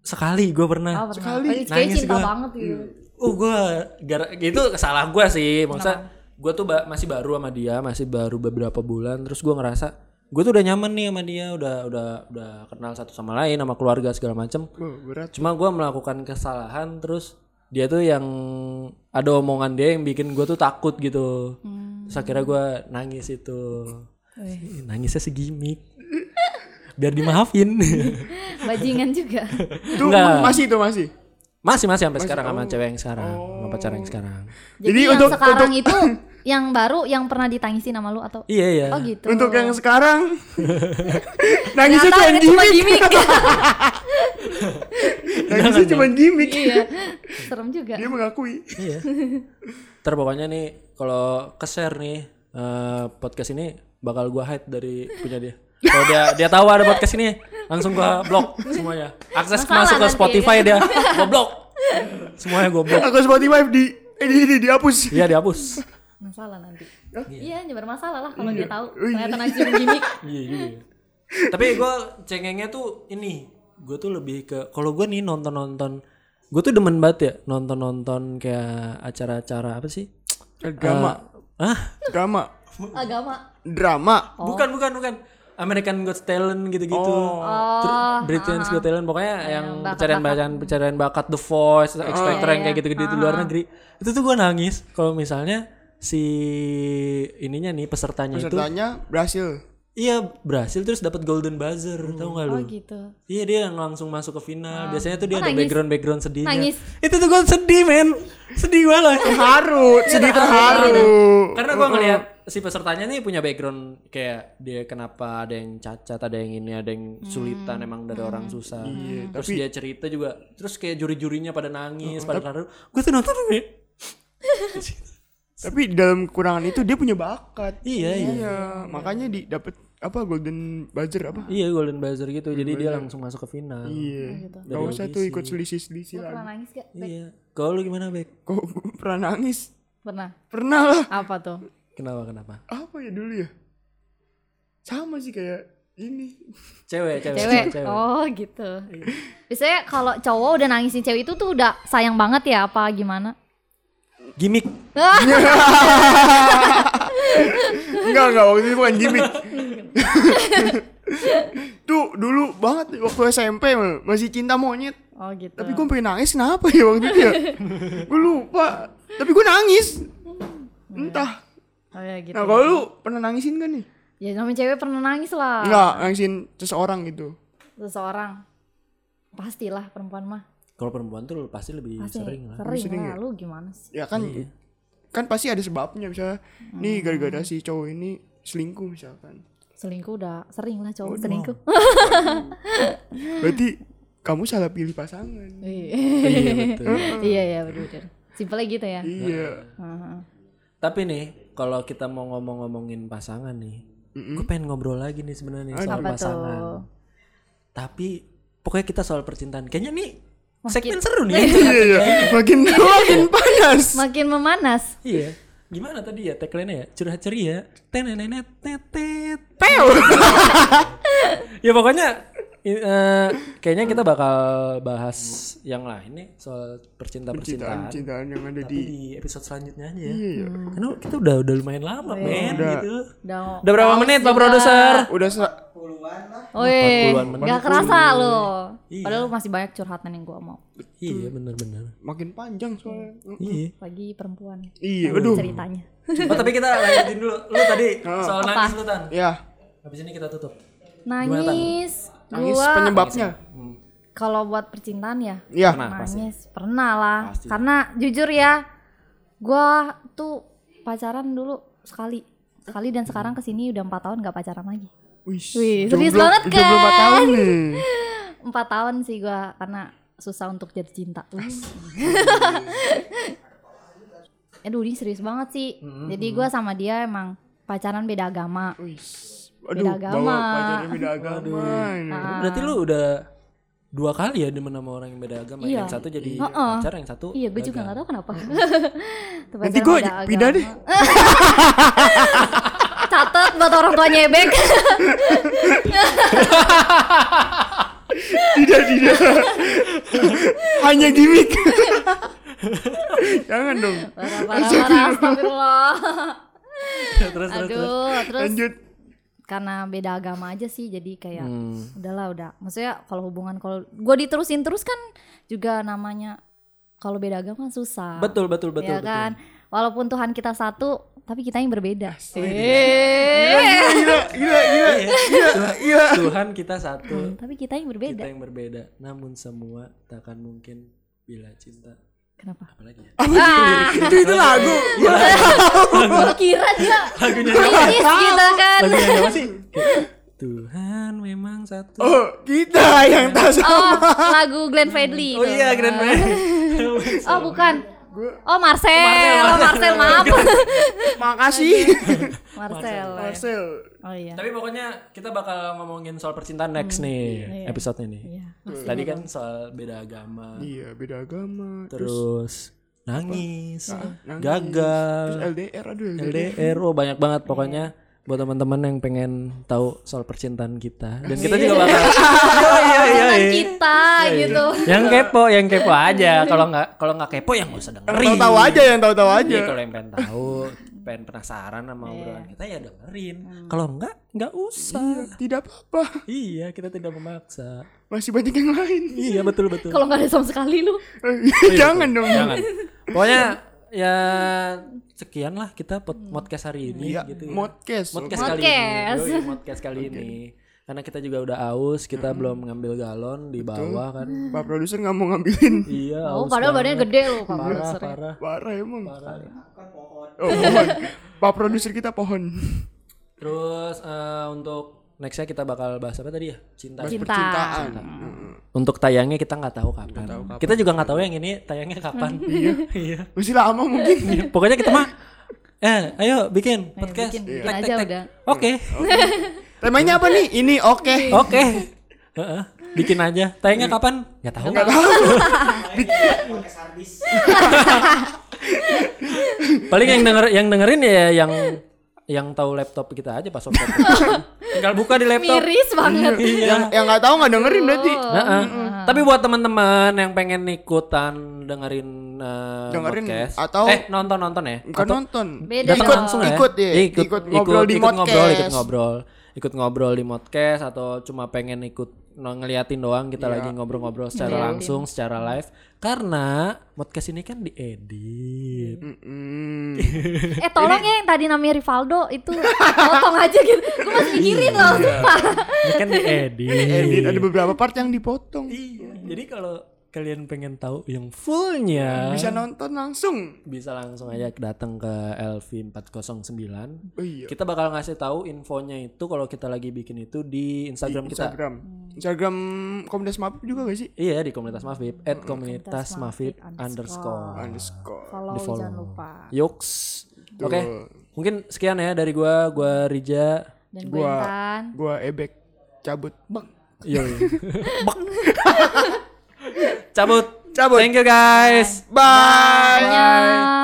[SPEAKER 3] sekali gue pernah
[SPEAKER 2] Oh, pernah.
[SPEAKER 1] Sekali.
[SPEAKER 2] Oh, kayaknya
[SPEAKER 3] Nangis
[SPEAKER 2] cinta
[SPEAKER 3] gua.
[SPEAKER 2] banget gitu.
[SPEAKER 3] uh gue gara itu salah gue sih maksudnya gue tuh ba- masih baru sama dia masih baru beberapa bulan terus gue ngerasa gue tuh udah nyaman nih sama dia udah udah udah kenal satu sama lain sama keluarga segala macem
[SPEAKER 1] Wah, berat
[SPEAKER 3] cuma gue melakukan kesalahan terus dia tuh yang ada omongan dia yang bikin gue tuh takut gitu terus akhirnya gue nangis itu Ih, nangisnya segimik biar dimaafin
[SPEAKER 2] bajingan juga
[SPEAKER 1] Itu
[SPEAKER 3] Enggak.
[SPEAKER 1] masih itu masih.
[SPEAKER 3] masih masih sampai sekarang sama cewek yang sekarang sama pacar yang sekarang
[SPEAKER 2] jadi,
[SPEAKER 1] Jadi
[SPEAKER 2] yang
[SPEAKER 1] untuk-
[SPEAKER 2] sekarang
[SPEAKER 1] untuk-
[SPEAKER 2] itu yang baru yang pernah ditangisin sama lu atau
[SPEAKER 3] iya iya
[SPEAKER 2] oh gitu
[SPEAKER 1] Untuk yang sekarang nangisnya
[SPEAKER 2] Ternyata
[SPEAKER 1] cuma
[SPEAKER 2] ini cuma
[SPEAKER 1] gimmick.
[SPEAKER 2] gimmick
[SPEAKER 1] Nangisnya cuma gimmick.
[SPEAKER 2] iya serem juga
[SPEAKER 1] Dia mengakui.
[SPEAKER 3] Iya. Ntar pokoknya nih kalau ke-share nih eh, podcast ini bakal gua hide dari punya dia. Kalau dia dia tahu ada podcast ini, langsung gua blok semuanya. Akses
[SPEAKER 2] Masalah
[SPEAKER 3] masuk ke
[SPEAKER 2] nanti,
[SPEAKER 3] Spotify dia, gua blok. Semuanya gua blok.
[SPEAKER 1] Aku Spotify di eh, di, di, dihapus.
[SPEAKER 3] Iya dihapus.
[SPEAKER 2] masalah nanti iya nyebar masalah lah kalau dia tahu
[SPEAKER 1] Iya.
[SPEAKER 2] ternyata nanti gimmick
[SPEAKER 3] Iya juga. ya. Tapi gua cengengnya tuh ini, gua tuh lebih ke kalau gua nih nonton-nonton gua tuh demen banget ya nonton-nonton kayak acara-acara apa sih?
[SPEAKER 1] Drama,
[SPEAKER 3] Ah,
[SPEAKER 1] Eh, drama,
[SPEAKER 2] agama
[SPEAKER 1] drama.
[SPEAKER 2] Oh.
[SPEAKER 3] Bukan, bukan, bukan. American Got Talent gitu-gitu. Terus
[SPEAKER 2] Oh.
[SPEAKER 3] Britain's
[SPEAKER 2] Uh-huh.
[SPEAKER 3] Got Talent pokoknya
[SPEAKER 2] Iya,
[SPEAKER 3] yang pencarian bakat, pencarian bakat The Voice,
[SPEAKER 2] Oh,
[SPEAKER 3] X Factor
[SPEAKER 2] iya,
[SPEAKER 3] yang kayak gitu-gitu di
[SPEAKER 2] Uh-huh.
[SPEAKER 3] luar negeri. Itu tuh gua nangis kalau misalnya si ininya nih pesertanya, itu
[SPEAKER 1] Pesertanya berhasil.
[SPEAKER 3] iya berhasil terus dapat golden buzzer, tahu nggak lu?
[SPEAKER 2] oh gitu
[SPEAKER 3] Iya dia yang langsung masuk ke final. Biasanya tuh dia
[SPEAKER 2] Oh,
[SPEAKER 3] ada
[SPEAKER 2] nangis.
[SPEAKER 3] background background sedihnya.
[SPEAKER 2] Nangis.
[SPEAKER 3] Itu tuh gua sedih men, sedih banget.
[SPEAKER 2] Iya,
[SPEAKER 1] Terharu, sedih terharu.
[SPEAKER 3] Karena gua ngelihat si pesertanya nih punya background kayak dia kenapa ada yang cacat, ada yang ini, ada yang sulitan emang dari orang susah. terus dia cerita juga. Terus kayak juri-jurinya pada nangis, pada terharu. Gue tuh nonton nih.
[SPEAKER 1] Tapi dalam kekurangan itu dia punya bakat.
[SPEAKER 3] Iya, iya.
[SPEAKER 1] Iya, makanya di dapat apa golden buzzer
[SPEAKER 2] Ah,
[SPEAKER 1] apa?
[SPEAKER 3] Iya golden buzzer gitu. Jadi dia langsung masuk ke final.
[SPEAKER 1] Iya.
[SPEAKER 2] gitu.
[SPEAKER 1] Gak usah tuh ikut selisih-selisih
[SPEAKER 2] pernah
[SPEAKER 1] lagi.
[SPEAKER 2] nangis gak
[SPEAKER 3] Iya. Kalau lu gimana, Bek?
[SPEAKER 1] Kok gua pernah nangis?
[SPEAKER 2] pernah
[SPEAKER 1] Pernah lah.
[SPEAKER 2] apa tuh
[SPEAKER 3] Kenapa kenapa?
[SPEAKER 1] Apa ya dulu ya? Sama sih kayak ini.
[SPEAKER 3] Cewek, cewek,
[SPEAKER 2] cewek oh gitu biasanya kalau cowok udah nangisin cewek itu tuh udah sayang banget ya apa gimana
[SPEAKER 3] Gimik.
[SPEAKER 1] Enggak, enggak waktu itu bukan gimmick. tuh dulu banget waktu SMP Mel, masih cinta monyet.
[SPEAKER 2] oh gitu
[SPEAKER 1] Tapi gue pengen nangis kenapa ya waktu itu ya? gue lupa. Tapi gue nangis. Entah.
[SPEAKER 2] oh ya gitu
[SPEAKER 1] Nah kalau lu pernah nangisin gak nih?
[SPEAKER 2] ya namanya cewek pernah nangis lah
[SPEAKER 1] Enggak, nangisin seseorang gitu.
[SPEAKER 2] seseorang pastilah perempuan mah
[SPEAKER 3] Kalau perempuan tuh pasti lebih
[SPEAKER 2] pasti
[SPEAKER 3] sering lah.
[SPEAKER 2] sering,
[SPEAKER 1] Sering
[SPEAKER 2] lah lu gimana sih
[SPEAKER 1] Ya kan, kan pasti ada sebabnya misalnya. Nih gara-gara si cowok ini selingkuh misalkan.
[SPEAKER 2] selingkuh udah sering lah cowok selingkuh
[SPEAKER 1] Berarti kamu salah pilih pasangan.
[SPEAKER 3] iya betul.
[SPEAKER 2] iya iya bener bener simpelnya gitu ya
[SPEAKER 1] Iya.
[SPEAKER 2] Heeh.
[SPEAKER 3] Tapi nih, kalau kita mau ngomong-ngomongin pasangan nih, gue pengen ngobrol lagi nih sebenarnya
[SPEAKER 2] Oh,
[SPEAKER 3] soal
[SPEAKER 2] apa
[SPEAKER 3] pasangan.
[SPEAKER 2] tuh
[SPEAKER 3] Tapi pokoknya kita soal percintaan. Kayaknya nih segmen seru nih.
[SPEAKER 1] Iya, iya. Makin makin panas.
[SPEAKER 2] makin memanas
[SPEAKER 3] iya. Gimana tadi ya tagline-nya ya? Curhat ceria. Tenenenetetet.
[SPEAKER 1] Teo.
[SPEAKER 3] Ya pokoknya i- eh, kayaknya kita
[SPEAKER 2] Hmm.
[SPEAKER 3] bakal bahas yang lain nih soal
[SPEAKER 1] Cintaan,
[SPEAKER 3] percintaan-percintaan.
[SPEAKER 1] cintaan yang ada
[SPEAKER 3] Tapi
[SPEAKER 1] di
[SPEAKER 3] di episode selanjutnya aja ya. Karena kita udah udah lumayan lama, men,
[SPEAKER 1] Udah.
[SPEAKER 3] gitu.
[SPEAKER 2] Iya. udah
[SPEAKER 3] Udah berapa menit, Pak Produser?
[SPEAKER 1] udah sa-
[SPEAKER 2] Woi,
[SPEAKER 3] 40-an menit.
[SPEAKER 2] nggak kerasa lo. Padahal lu masih banyak curhatan yang gua mau.
[SPEAKER 3] Iya, bener-bener.
[SPEAKER 1] makin panjang soalnya.
[SPEAKER 3] Iya.
[SPEAKER 2] Lagi perempuan
[SPEAKER 1] Iya, aduh.
[SPEAKER 2] ceritanya.
[SPEAKER 3] Oh tapi kita lanjutin dulu. Lu tadi soal nangis lu Tan.
[SPEAKER 1] Ya,
[SPEAKER 3] Habis ini kita tutup.
[SPEAKER 2] Nangis,
[SPEAKER 1] nangis
[SPEAKER 2] gua
[SPEAKER 1] penyebabnya.
[SPEAKER 3] Hmm.
[SPEAKER 2] kalau buat percintaan ya
[SPEAKER 1] Iya.
[SPEAKER 3] Nah,
[SPEAKER 2] nangis pernah lah. Karena jujur ya, gua tuh pacaran dulu sekali, sekali dan sekarang kesini udah empat tahun nggak pacaran lagi.
[SPEAKER 1] Wih,
[SPEAKER 2] Wih, serius banget kan?
[SPEAKER 1] Jomblo 4 tahun nih.
[SPEAKER 2] Empat tahun sih gua karena susah untuk jadi cinta tuh. Aduh ini serius banget sih.
[SPEAKER 1] Mm-hmm,
[SPEAKER 2] Jadi gua sama dia emang pacaran beda agama.
[SPEAKER 1] Wih, aduh,
[SPEAKER 2] Beda agama.
[SPEAKER 1] bawa pacarnya beda agama. ini.
[SPEAKER 2] Nah.
[SPEAKER 3] Berarti lu udah dua kali ya demen sama orang yang beda agama.
[SPEAKER 2] Iya.
[SPEAKER 3] Yang satu jadi
[SPEAKER 2] Heeh.
[SPEAKER 3] pacar, yang satu
[SPEAKER 2] Iya, gue juga
[SPEAKER 3] dagang.
[SPEAKER 2] gak tahu kenapa. Tuh,
[SPEAKER 1] Nanti
[SPEAKER 2] pacaran
[SPEAKER 1] gue
[SPEAKER 2] beda
[SPEAKER 1] pindah
[SPEAKER 2] agama.
[SPEAKER 1] deh.
[SPEAKER 2] Catat buat orang tua nyebek.
[SPEAKER 1] Tidak, tidak. Hanya gimmick. Jangan dong.
[SPEAKER 2] Parah, parah, parah. Astagfirullah.
[SPEAKER 3] terus terus. terus.
[SPEAKER 2] Aduh, terus
[SPEAKER 1] Lanjut.
[SPEAKER 2] karena beda agama aja sih jadi kayak
[SPEAKER 3] Hmm.
[SPEAKER 2] udahlah udah maksudnya kalau hubungan kalau gue diterusin terus kan juga namanya kalau beda agama kan susah
[SPEAKER 3] Betul betul betul.
[SPEAKER 2] ya
[SPEAKER 3] betul.
[SPEAKER 2] kan walaupun Tuhan kita satu tapi kita yang berbeda Eh.
[SPEAKER 1] Gila, gila, gila, gila, gila.
[SPEAKER 3] Tuhan kita satu,
[SPEAKER 2] Hmm, tapi kita yang
[SPEAKER 3] kita
[SPEAKER 2] berbeda
[SPEAKER 3] yang berbeda. Namun semua takkan mungkin bila cinta.
[SPEAKER 2] kenapa
[SPEAKER 3] Apalagi ya?
[SPEAKER 2] ah,
[SPEAKER 1] Itu itu lagu.
[SPEAKER 2] gua kira dia
[SPEAKER 3] Lagunya
[SPEAKER 2] kritis gitu kan
[SPEAKER 3] Lagunya siapa sih? Kayak, Tuhan memang satu.
[SPEAKER 1] Oh, kita yang tak sama.
[SPEAKER 2] oh lagu Glenn Fredly
[SPEAKER 3] Oh
[SPEAKER 2] itu.
[SPEAKER 3] iya Grand Man.
[SPEAKER 2] oh bukan
[SPEAKER 1] Gua-
[SPEAKER 2] oh Marcel oh Marcel maaf
[SPEAKER 1] Makasih.
[SPEAKER 2] Marcel eh.
[SPEAKER 1] Marcel.
[SPEAKER 2] oh iya
[SPEAKER 3] Tapi pokoknya kita bakal ngomongin soal percintaan next nih episode ini.
[SPEAKER 2] Hmm. Iya.
[SPEAKER 3] Tadi kan soal beda agama,
[SPEAKER 1] Iya, beda agama.
[SPEAKER 3] terus nangis,
[SPEAKER 1] nangis.
[SPEAKER 3] gagal,
[SPEAKER 1] Terus Iya. LDR, aduh LDR.
[SPEAKER 3] LDR, oh banyak banget pokoknya buat teman-teman yang pengen tahu soal percintaan kita dan kita
[SPEAKER 1] Iya.
[SPEAKER 3] juga bakal
[SPEAKER 1] Oh,
[SPEAKER 3] Iya,
[SPEAKER 2] Teman kita gitu
[SPEAKER 3] yang kepo yang kepo aja kalau nggak kalau nggak kepo ya nggak usah dengerin
[SPEAKER 1] Tahu-tahu aja yang tahu-tahu aja. Iya.
[SPEAKER 3] Iya, kalau yang pengen tahu pengen penasaran sama obrolan kita ya dengerin
[SPEAKER 1] Hmm.
[SPEAKER 3] kalau nggak nggak usah
[SPEAKER 1] Iya, Tidak apa-apa.
[SPEAKER 3] iya kita tidak memaksa
[SPEAKER 1] Masih banyak yang lain. Eh,
[SPEAKER 3] iya betul betul
[SPEAKER 2] kalau nggak ada sama sekali lu
[SPEAKER 1] Jangan dong.
[SPEAKER 3] Oh, iya, jangan pokoknya ya sekian lah kita pod-
[SPEAKER 2] Hmm.
[SPEAKER 3] podcast hari ini
[SPEAKER 1] Iya,
[SPEAKER 3] gitu ya.
[SPEAKER 1] modcast.
[SPEAKER 3] Modcast
[SPEAKER 1] oke.
[SPEAKER 3] kali
[SPEAKER 2] Modcast.
[SPEAKER 3] ini. Yoi, Modcast kali ini. Karena kita juga udah aus, kita belum ngambil galon di bawah kan.
[SPEAKER 1] Pak produser nggak mau ngambilin.
[SPEAKER 3] Iya,
[SPEAKER 2] oh
[SPEAKER 3] aus.
[SPEAKER 2] padahal badannya gede lu pak
[SPEAKER 3] parah,
[SPEAKER 2] produsernya.
[SPEAKER 3] parah.
[SPEAKER 1] Parah emang. Oh, pohon. Pak produser kita pohon.
[SPEAKER 3] Terus eh, untuk nextnya kita bakal bahas apa tadi ya? Cinta.
[SPEAKER 2] Cinta.
[SPEAKER 1] Percintaan.
[SPEAKER 3] Untuk tayangnya kita nggak tahu kapan. Kita juga nggak tahu yang ini tayangnya kapan. iya, iya.
[SPEAKER 1] Masih lama mungkin.
[SPEAKER 3] Pokoknya kita mah eh ayo bikin podcast.
[SPEAKER 2] bikin, bikin
[SPEAKER 3] Iya. Tek,
[SPEAKER 2] aja
[SPEAKER 3] tek, tek.
[SPEAKER 2] udah.
[SPEAKER 3] Oke.
[SPEAKER 1] Temanya apa nih? Ini oke.
[SPEAKER 3] Oke. Heeh, bikin aja. Tayangnya kapan? Nggak tahu. Paling yang denger yang dengerin ya yang yang tahu laptop kita aja pas waktu itu. Tinggal buka di laptop.
[SPEAKER 2] miris banget
[SPEAKER 1] Yang yang nggak tahu nggak dengerin berarti.
[SPEAKER 3] Heeh. Tapi buat teman-teman yang pengen ikutan dengerin eh,
[SPEAKER 1] Dengerin
[SPEAKER 3] podcast
[SPEAKER 1] atau-
[SPEAKER 3] eh nonton-nonton ya.
[SPEAKER 1] Bukan nonton.
[SPEAKER 2] Beda
[SPEAKER 1] ikut
[SPEAKER 2] dong.
[SPEAKER 1] langsung ya? Ikut ya.
[SPEAKER 3] Iya,
[SPEAKER 1] Ikut, ngobrol di
[SPEAKER 3] ikut
[SPEAKER 1] modcast.
[SPEAKER 3] ngobrol, ikut ngobrol. Ikut ngobrol di podcast atau cuma pengen ikut no- ngeliatin doang
[SPEAKER 1] Iya.
[SPEAKER 3] kita lagi ngobrol-ngobrol secara langsung, secara live. Karena podcast ini kan diedit.
[SPEAKER 1] Mm-mm.
[SPEAKER 2] eh tolong ya yang tadi namanya Rivaldo itu potong aja gitu gue masih mikirin
[SPEAKER 3] Iya.
[SPEAKER 2] loh sumpah
[SPEAKER 3] Ini kan diedit.
[SPEAKER 1] Edit Eh, ada beberapa part yang dipotong.
[SPEAKER 3] Iya. Jadi kalau kalian pengen tahu yang fullnya
[SPEAKER 1] Bisa nonton langsung.
[SPEAKER 3] bisa langsung aja datang ke LV 409.
[SPEAKER 1] Oh iya.
[SPEAKER 3] Kita bakal ngasih tahu infonya itu kalau kita lagi bikin itu di Instagram, kita.
[SPEAKER 1] Instagram. Instagram Komunitas Mabuk juga gak sih?
[SPEAKER 3] Iya di komunitas Mafib at komunitas Mafib underscore.
[SPEAKER 1] Underscore.
[SPEAKER 2] Ah. follow jangan lupa
[SPEAKER 3] Yoks. Oke. Mungkin sekian ya dari gua, gua Rija.
[SPEAKER 2] dan gue
[SPEAKER 1] Gua-
[SPEAKER 2] Intan
[SPEAKER 1] Gua ebek cabut.
[SPEAKER 3] Yo. Cabut.
[SPEAKER 1] Cabut.
[SPEAKER 3] Thank you guys.
[SPEAKER 1] Bye.
[SPEAKER 2] Dadah.